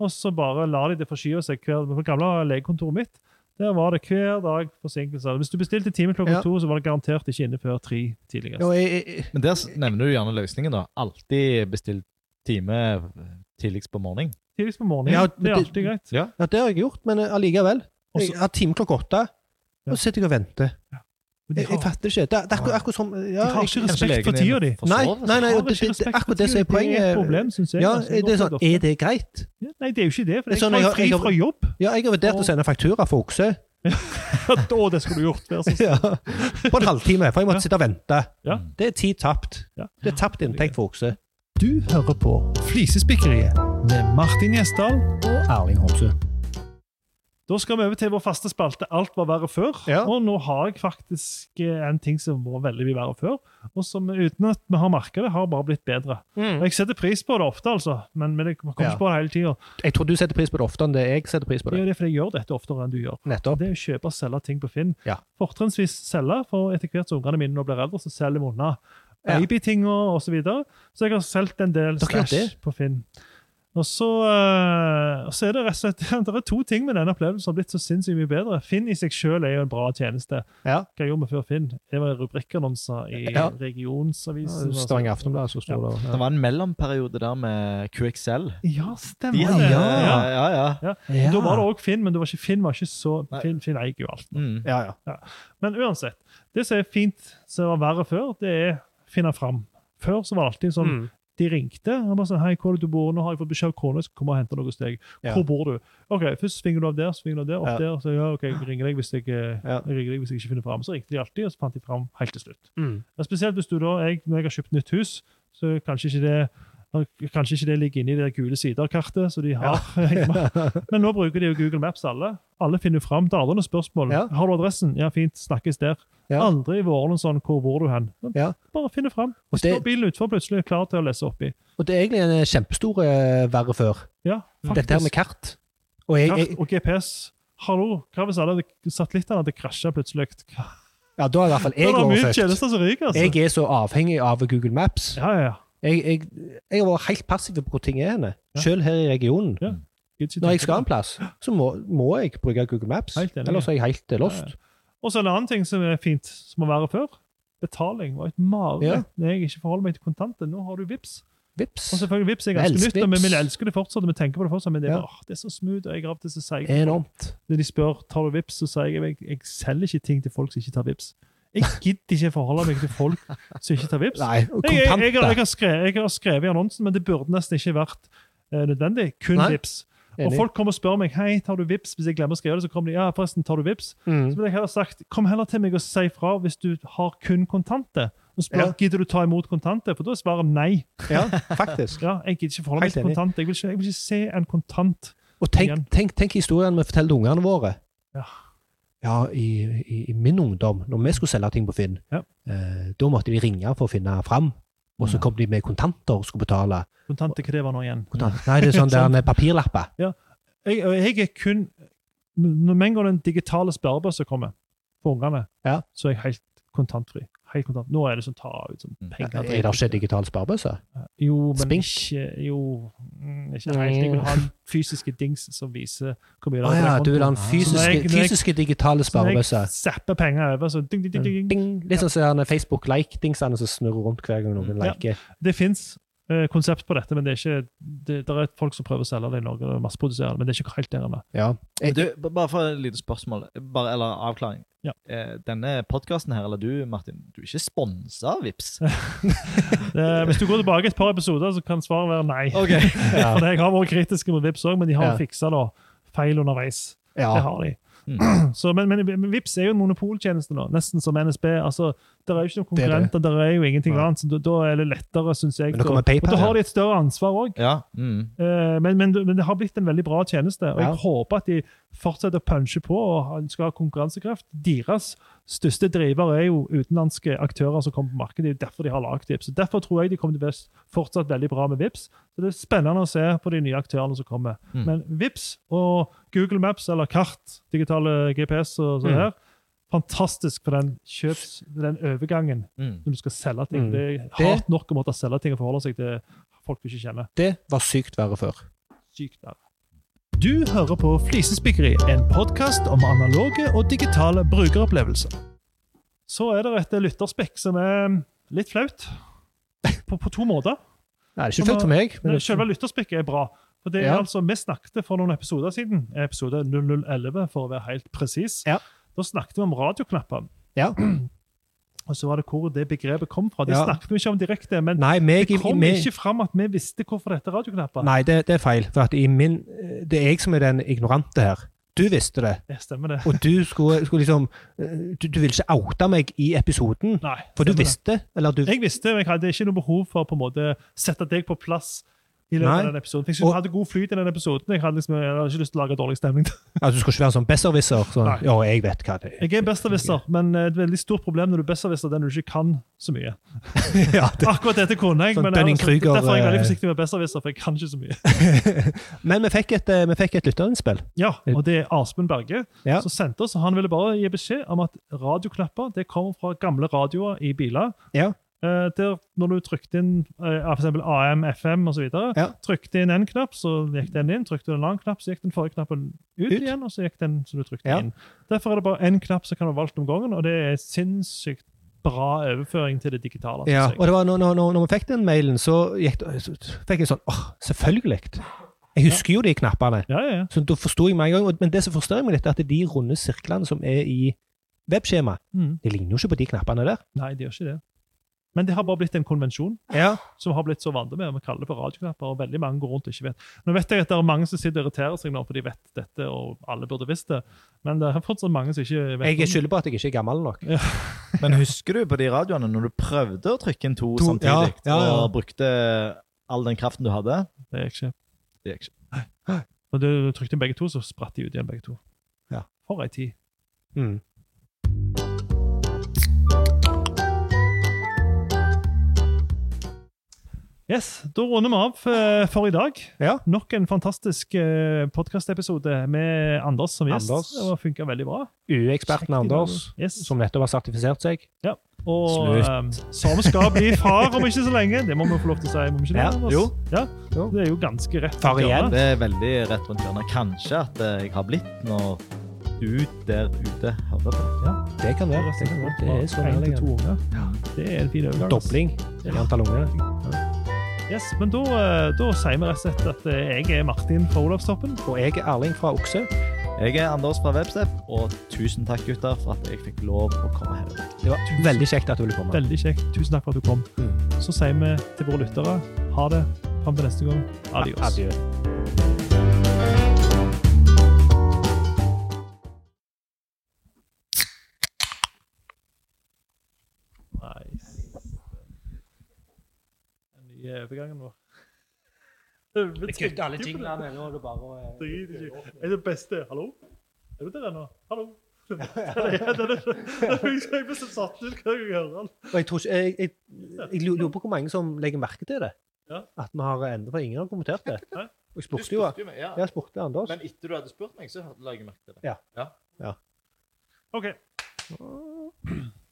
Speaker 1: Og så bare lar de det forskyve seg. Hver, på det gamle legekontoret mitt der var det hver dag forsinkelser. Hvis du bestilte time klokka
Speaker 2: Ja.
Speaker 1: to, så var det garantert ikke inne før tre tidligere.
Speaker 2: Og jeg, jeg,
Speaker 3: Men der s- nevner du gjerne løsningen, da. Alltid bestill time eh, tidligst på morgenen.
Speaker 1: Tidligst på morgenen.
Speaker 2: Ja,
Speaker 1: det er
Speaker 2: det-
Speaker 1: alltid greit.
Speaker 2: ja, det har jeg gjort, men eh, allikevel.
Speaker 1: Og så-
Speaker 2: Jeg har time klokka åtte,
Speaker 1: Ja.
Speaker 2: og så sitter jeg og venter.
Speaker 1: Men de
Speaker 2: Jeg, jeg
Speaker 1: har,
Speaker 2: fatter ikke. Det, er- det er akkurat, akkurat som
Speaker 1: de
Speaker 2: ja,
Speaker 1: har ikke
Speaker 2: jeg-
Speaker 1: respekt
Speaker 3: legen
Speaker 1: for tida di.
Speaker 3: forsover
Speaker 2: Nei,
Speaker 3: seg.
Speaker 2: nei, nei,
Speaker 1: Har
Speaker 2: og det,
Speaker 1: ikke
Speaker 2: det, det,
Speaker 1: respekt for
Speaker 2: akkurat det som er
Speaker 1: tiden. Det er
Speaker 2: poenget.
Speaker 1: et problem, synes jeg.
Speaker 2: Ja,
Speaker 1: altså,
Speaker 2: det er
Speaker 1: godt
Speaker 2: sånn,
Speaker 1: og
Speaker 2: er
Speaker 1: ofte.
Speaker 2: det greit?
Speaker 1: Ja, Nei, det er jo ikke det. For
Speaker 2: Det er
Speaker 1: jeg
Speaker 2: sånn
Speaker 1: tar
Speaker 2: jeg har-
Speaker 1: fri
Speaker 2: jeg har-
Speaker 1: fra jobb.
Speaker 2: Ja, jeg har vurdert å sende faktura for okse
Speaker 1: Å, det sånn- skulle du gjort. Vær så snill.
Speaker 2: ja. på en halvtime, for jeg måtte sitte og vente.
Speaker 1: Ja.
Speaker 2: Det er tid tapt.
Speaker 1: Ja.
Speaker 2: Det er tapt inntekt for okse.
Speaker 1: Du hører på Flisespikkeriet med Martin Gjesdal.
Speaker 2: Erling Homsø.
Speaker 1: Da skal vi over til vår faste spalte Alt var verre før.
Speaker 2: Ja.
Speaker 1: Og nå har jeg faktisk eh, en ting som var veldig mye verre før, og som uten at vi har merka det, har bare blitt bedre.
Speaker 2: Mm.
Speaker 1: Og Jeg setter pris på det ofte, altså, men, men jeg kommer ikke
Speaker 2: Ja.
Speaker 1: på det hele tida.
Speaker 2: Jeg tror du setter pris på det oftere enn det jeg setter pris på
Speaker 1: Det
Speaker 2: det.
Speaker 1: er jo det fordi jeg gjør dette oftere enn du gjør.
Speaker 2: Nettopp.
Speaker 1: Det er å kjøpe og selge ting på Finn.
Speaker 2: Ja.
Speaker 1: Fortrinnsvis selge, for etter hvert som ungene mine nå blir eldre, så selger vi unna
Speaker 2: Ja.
Speaker 1: babytinga osv. Så, videre. så jeg har solgt en del
Speaker 2: Dere gjør
Speaker 1: stæsj
Speaker 2: det?
Speaker 1: på Finn. Og så, eh, og så er det rett og slett det er to ting med denne opplevelsen som har blitt så sinnssykt mye bedre. Finn i seg sjøl er jo en bra tjeneste.
Speaker 2: Ja.
Speaker 1: Hva gjorde vi før Finn? Det var rubrikkannonser i sånn.
Speaker 2: Ja.
Speaker 1: regionsavisen.
Speaker 2: Stavanger Aftenblad så står det.
Speaker 3: Det var en mellomperiode der med QXL.
Speaker 1: Ja,
Speaker 3: De
Speaker 1: stemmer
Speaker 2: Ja,
Speaker 1: det.
Speaker 3: hadde-
Speaker 2: ja.
Speaker 3: ja, ja.
Speaker 2: Ja.
Speaker 1: Da var det òg Finn, men det var ikke, Finn var ikke så
Speaker 3: Nei.
Speaker 1: Finn, Finn eier jo alt.
Speaker 3: Mm.
Speaker 2: Ja, ja.
Speaker 1: Men uansett,
Speaker 2: Mm.
Speaker 1: det som er fint som var verre før, det er finne fram. Før så var det alltid sånn De ringte. Han bare sånn, hei, hvor er det du bor? Nå har jeg fått beskjed av kona, jeg skal komme og hente noe hos deg.
Speaker 2: Ja.
Speaker 1: Hvor bor du? Ok, Først svinger du av der, så svinger du av der, opp
Speaker 2: Ja.
Speaker 1: der. Så ja, ok, jeg ringer deg hvis jeg, eh,
Speaker 2: Ja.
Speaker 1: jeg ringer deg hvis jeg ikke finner fram. Så ringte de alltid, og så fant de fram helt til slutt.
Speaker 2: Mm.
Speaker 1: Men spesielt hvis du da, jeg, når jeg har kjøpt nytt hus, så kanskje ikke det Kanskje ikke det ligger inne i det gule sider-kartet. som de har. Men nå bruker de jo Google Maps, alle. Alle finner jo fram til aldrende spørsmål.
Speaker 2: Ja.
Speaker 1: Har du adressen? Ja, fint. Snakkes der.
Speaker 2: Ja.
Speaker 1: Aldri vært noen sånn 'hvor bor du hen?' Men
Speaker 2: Ja.
Speaker 1: Bare finne fram.
Speaker 2: Og det-
Speaker 1: Står bilen utfor plutselig, klar til å lese oppi.
Speaker 2: Og det er egentlig en kjempestor eh, verre før.
Speaker 1: Ja, faktisk.
Speaker 2: Dette her med kart. Og jeg, jeg,
Speaker 1: Kart og GPS. Hallo, hva hvis alle satellittene hadde krasja plutselig? Hva-
Speaker 2: ja, da er i hvert fall
Speaker 1: Det
Speaker 2: jeg
Speaker 1: er mye
Speaker 2: overfølt.
Speaker 1: tjenester som ryker, altså.
Speaker 2: Jeg er så avhengig av Google Maps.
Speaker 1: Ja, ja, ja.
Speaker 2: Jeg, jeg, jeg har vært helt passiv på hvor ting er henne.
Speaker 1: Ja.
Speaker 2: Selv her i regionen.
Speaker 1: Ja. Gidder ikke
Speaker 2: Når
Speaker 1: tenke
Speaker 2: jeg skal
Speaker 1: på
Speaker 2: en plass, så må, må jeg bruke Google Maps.
Speaker 1: Helt enig.
Speaker 2: Ellers er jeg helt eh,
Speaker 1: Ja, ja.
Speaker 2: lost.
Speaker 1: det. Og så en annen ting som er fint, som må være før. Betaling var et
Speaker 2: Ja.
Speaker 1: mareritt når jeg ikke forholder meg til kontanter. Nå har du Vips.
Speaker 2: Vips.
Speaker 1: Og selvfølgelig Vips er
Speaker 2: Jeg
Speaker 1: ganske
Speaker 2: elsker
Speaker 1: nytt, og vi
Speaker 2: Vipps.
Speaker 1: vi elsker det fortsatt. og Vi tenker på det fortsatt, men det er,
Speaker 2: Ja.
Speaker 1: bare, åh, det er så smooth. og Jeg er av og til så seig.
Speaker 2: Enormt.
Speaker 1: Når de spør tar du Vips, så sier jeg jeg, jeg selger ikke ting til folk som ikke tar Vips. Jeg gidder ikke forholde meg til folk som ikke tar Vips.
Speaker 2: Nei, og
Speaker 1: Jeg, jeg, jeg, har- jeg,
Speaker 2: kontanter.
Speaker 1: har skrevet, jeg har skrevet i annonsen, men det burde nesten ikke vært eh, nødvendig. Kun
Speaker 2: Nei.
Speaker 1: Vips. Og
Speaker 2: Enig.
Speaker 1: folk kommer og spør meg hei, tar du Vips? Hvis jeg glemmer å skrive det, så kommer de ja, forresten, tar du Vips?
Speaker 2: Mm.
Speaker 1: Så ville jeg heller sagt kom heller til meg og si fra hvis du har kun kontanter. Og spør
Speaker 2: Ja.
Speaker 1: gidder du ta imot kontanter, for da er svaret nei.
Speaker 2: Ja, faktisk.
Speaker 1: Ja, jeg gidder ikke forholde meg
Speaker 2: Helt
Speaker 1: til
Speaker 2: enig.
Speaker 1: kontanter. Jeg vil ikke, jeg vil ikke se en kontant.
Speaker 2: Og tenk,
Speaker 1: Igjen.
Speaker 2: tenk, tenk historien vi forteller til ungene våre.
Speaker 1: Ja.
Speaker 2: Ja, i, i, i min ungdom, når vi skulle selge ting på Finn,
Speaker 1: Ja.
Speaker 2: eh, da måtte de ringe for å finne fram. Og så
Speaker 1: Ja.
Speaker 2: kom de med kontanter og skulle betale.
Speaker 1: Kontanter, hva det var nå igjen?
Speaker 2: Kontant. Nei, det er sånn der
Speaker 1: Sant.
Speaker 2: med papirlapper.
Speaker 1: Jeg, og jeg er kun Når med en gang den digitale sparebøssa kommer for ungene,
Speaker 2: Ja.
Speaker 1: så er jeg helt kontantfri. Helt kontant. Nå er det sånn ta ut sånn penger.
Speaker 2: Er Mm. det ikke digital sparebøsse?
Speaker 1: Jo, men
Speaker 2: Spink?
Speaker 1: ikke Jo, mm, ikke helt. Jeg vil ha en fysiske dings som viser hvor mye
Speaker 2: Å ja, du vil ha en
Speaker 3: Ah.
Speaker 1: Så når jeg-
Speaker 2: fysiske,
Speaker 1: når jeg-
Speaker 2: fysiske digitale sparebøsse.
Speaker 1: zapper penger over. Så ding, ding, ding, ding, ding.
Speaker 2: Ding. Litt sånn som den Facebook-like-dingsene som snurrer rundt hver gang noen
Speaker 1: Mm. Ja.
Speaker 2: liker.
Speaker 1: Det fins konsept på dette, men det er ikke, det, der er folk som prøver å selge det i Norge. og masseproduserer det, Men det er ikke helt der ennå.
Speaker 2: Ja.
Speaker 3: Men Du, b- bare for et lite spørsmål, bare, eller avklaring.
Speaker 1: Ja.
Speaker 3: Eh, Denne podkasten her, eller du, Martin, du er ikke sponsa av Vips?
Speaker 1: Eh, Hvis du går tilbake et par episoder, så kan svaret være nei.
Speaker 3: Ok.
Speaker 2: Ja.
Speaker 1: For jeg har vært kritisk mot Vips òg, men de har
Speaker 2: Ja.
Speaker 1: fiksa da, feil underveis.
Speaker 2: ja. Mm.
Speaker 1: Det har de. Så, men, men, men Vips er jo en monopoltjeneste nå, nesten som NSB. Altså, der er jo ikke noen
Speaker 2: Det er det.
Speaker 1: konkurrenter, der er jo ingenting
Speaker 2: Nei.
Speaker 1: annet, så da, da er det lettere, syns jeg.
Speaker 2: Men nå
Speaker 1: da.
Speaker 2: kommer
Speaker 1: Og
Speaker 2: PayPal.
Speaker 1: da har de et større ansvar òg.
Speaker 3: Ja. Mm.
Speaker 1: Eh, Men, men, men det har blitt en veldig bra tjeneste, og
Speaker 2: Ja.
Speaker 1: jeg håper at de fortsetter å punche på og ha- skal ha konkurransekraft. Deres største driver er jo utenlandske aktører som kommer på markedet. Det er jo derfor de har lagd Vips. Og Derfor tror jeg de kommer til å være s- fortsatt veldig bra med Vips. Så Det er spennende å se på de nye aktørene som kommer.
Speaker 3: Mm.
Speaker 1: Men Vips og Google Maps eller kart, digitale GPS og sånn
Speaker 2: Mm.
Speaker 1: her, fantastisk for den kjøps, den overgangen
Speaker 3: Mm.
Speaker 1: når du skal selge ting.
Speaker 2: Mm.
Speaker 1: Det er hardt nok å måtte selge ting og forholde seg til folk du ikke kjenner
Speaker 2: Det var sykt verre før.
Speaker 1: sykt der. Du hører på Flisespikkeri, en podkast om analoge og digitale brukeropplevelser. Så er det et lytterspekk som er litt flaut. På, på to måter.
Speaker 2: Nei, det er ikke flaut for meg. Men
Speaker 1: Men selve lytterspekket er bra. For det er
Speaker 2: Ja.
Speaker 1: altså, Vi snakket for noen episoder siden, episode 0011 for å være helt presis.
Speaker 2: Ja.
Speaker 1: Da snakket vi om radioknapper.
Speaker 2: Ja.
Speaker 1: Og så var det hvor det begrepet kom fra. Det
Speaker 2: Ja.
Speaker 1: snakket vi ikke om direkte, men
Speaker 2: Nei, meg,
Speaker 1: det kom
Speaker 2: meg,
Speaker 1: ikke fram at vi visste hvorfor det heter radioknapper.
Speaker 2: Nei, det, det er feil. For at i min, det er jeg som er den ignorante her. Du visste det.
Speaker 1: Det stemmer, det.
Speaker 2: Og du skulle, skulle liksom eh, Du, du ville ikke oute meg i episoden,
Speaker 1: Nei,
Speaker 2: for
Speaker 1: stemmer
Speaker 2: du
Speaker 1: det.
Speaker 2: visste. Eller du
Speaker 1: Jeg visste, men jeg hadde ikke noe behov for å på en måte sette deg på plass. i løpet
Speaker 2: Nei.
Speaker 1: av den episoden. For Jeg synes
Speaker 2: Og-
Speaker 1: vi hadde god flyt i den episoden. Jeg hadde liksom, jeg hadde ikke lyst til å lage dårlig stemning.
Speaker 2: altså, du skulle ikke være en sånn besserwisser. Sånn,
Speaker 1: Nei.
Speaker 2: ja, jeg vet hva det er.
Speaker 1: Jeg er besserwisser, men eh, et veldig stort problem når du er besserwisser, den du ikke kan så mye.
Speaker 2: ja, det.
Speaker 1: Akkurat dette kunne jeg,
Speaker 2: Sånn
Speaker 1: men ellers-
Speaker 2: Dunning-Kruger,
Speaker 1: derfor er jeg veldig
Speaker 2: eh,
Speaker 1: forsiktig med besserwisser, for jeg kan ikke så mye.
Speaker 2: Men vi fikk et, eh, vi fikk et lytterinnspill.
Speaker 1: Ja, Og det er Asmund Berge
Speaker 2: Ja.
Speaker 1: som sendte oss, og han ville bare gi beskjed om at radioknapper det kommer fra gamle radioer i biler.
Speaker 2: Ja.
Speaker 1: Eh, der når du trykte inn eh, ja, for eksempel AM, FM osv.,
Speaker 2: Ja.
Speaker 1: trykte inn en knapp, så gikk den inn. Trykte du en annen knapp, så gikk den forrige knappen ut,
Speaker 2: Ut.
Speaker 1: igjen. og så gikk den som du trykte
Speaker 2: Ja.
Speaker 1: inn. Derfor er det bare én knapp som kan være valgt om gangen, og det er sinnssykt bra overføring til det digitale. synes
Speaker 2: Ja,
Speaker 1: jeg.
Speaker 2: og det var når, når, når når vi fikk den mailen, så, gikk, det- så fikk jeg sånn åh, selvfølgelig! Jeg husker jo de knappene.
Speaker 1: ja, ja, ja.
Speaker 2: Så da forsto jeg med en gang. og- Men det som forstyrrer meg litt, er at de runde sirklene som er i webskjemaet,
Speaker 1: Mm.
Speaker 2: de ligner jo ikke på de knappene der.
Speaker 1: Nei, det gjør ikke det. Men det har bare blitt en konvensjon
Speaker 2: Ja.
Speaker 1: som har blitt så vant med. og Vi kaller det for radioknapper, og veldig mange går rundt og ikke vet. Nå vet jeg at det er mange som sitter og irriterer seg nå, for de vet dette, og alle burde visst det. Men det er fortsatt mange som ikke vet om
Speaker 2: Jeg
Speaker 1: det.
Speaker 2: skylder på at jeg ikke er gammel nok.
Speaker 3: Men husker du på de radioene når du prøvde å trykke inn to,
Speaker 2: To,
Speaker 3: samtidig,
Speaker 2: ja, ja, ja.
Speaker 3: og brukte all den kraften du hadde?
Speaker 1: Det er jeg ikke.
Speaker 3: Det gikk ikke.
Speaker 1: Når du trykte inn begge to, så spratt de ut igjen, begge to.
Speaker 2: Ja.
Speaker 1: For ei tid.
Speaker 2: Mm.
Speaker 1: Yes, Da runder vi av eh, for i dag.
Speaker 2: Ja.
Speaker 1: Nok en fantastisk eh, podkastepisode med Anders som gjest.
Speaker 2: Anders.
Speaker 1: Det funka veldig bra.
Speaker 2: UE-eksperten Anders,
Speaker 1: Yes.
Speaker 2: som nettopp har sertifisert seg.
Speaker 1: Og
Speaker 3: Slutt.
Speaker 1: eh, som skal bli far om ikke så lenge. Det må vi få lov til å si. Må vi ikke
Speaker 2: Ja,
Speaker 1: det, Anders?
Speaker 2: jo.
Speaker 1: Ja,
Speaker 2: Jo.
Speaker 1: Det er jo ganske rett.
Speaker 2: Far
Speaker 1: rundt hjørnet.
Speaker 3: Det er veldig rett rundt hjørnet. Kanskje at eh, jeg har blitt når du der ute hører på.
Speaker 2: Det kan være. Det, kan være. det er sånn
Speaker 1: En til to
Speaker 2: ærlig.
Speaker 1: unger. Det er en fin overgang. altså.
Speaker 2: Dobling i antall unger.
Speaker 1: Yes, men da, eh, da sier vi rett og slett at eh, jeg er Martin fra Olavstoppen.
Speaker 2: Og jeg er Erling fra Okse.
Speaker 3: Jeg er Anders fra Webstep, og tusen takk, gutter, for at jeg fikk lov å komme her. i dag.
Speaker 2: Det var veldig kjekt at du ville komme.
Speaker 1: Veldig kjekt. Tusen takk for at du kom.
Speaker 2: Mm.
Speaker 1: Så sier vi til våre lyttere ha det. Fram til neste gang. Adios.
Speaker 2: Adjø.
Speaker 1: Nice. Den nye overgangen vår. Jeg
Speaker 2: Nå er det bare
Speaker 1: Det er det beste. Hallo? Er du der ennå? Hallo? Den er- den er- Jeg ble så satt ut hver gang jeg hører den.
Speaker 2: Og jeg, tror ikke, jeg, jeg, jeg lurer på hvor mange som legger merke til det.
Speaker 1: Ja.
Speaker 2: At vi har endret på Ingen har kommentert det.
Speaker 1: Hæ?
Speaker 2: Og jeg spurte jo
Speaker 3: meg, ja.
Speaker 2: jeg spurte Anders.
Speaker 3: Men etter du hadde spurt meg, så la jeg merke til det.
Speaker 1: OK.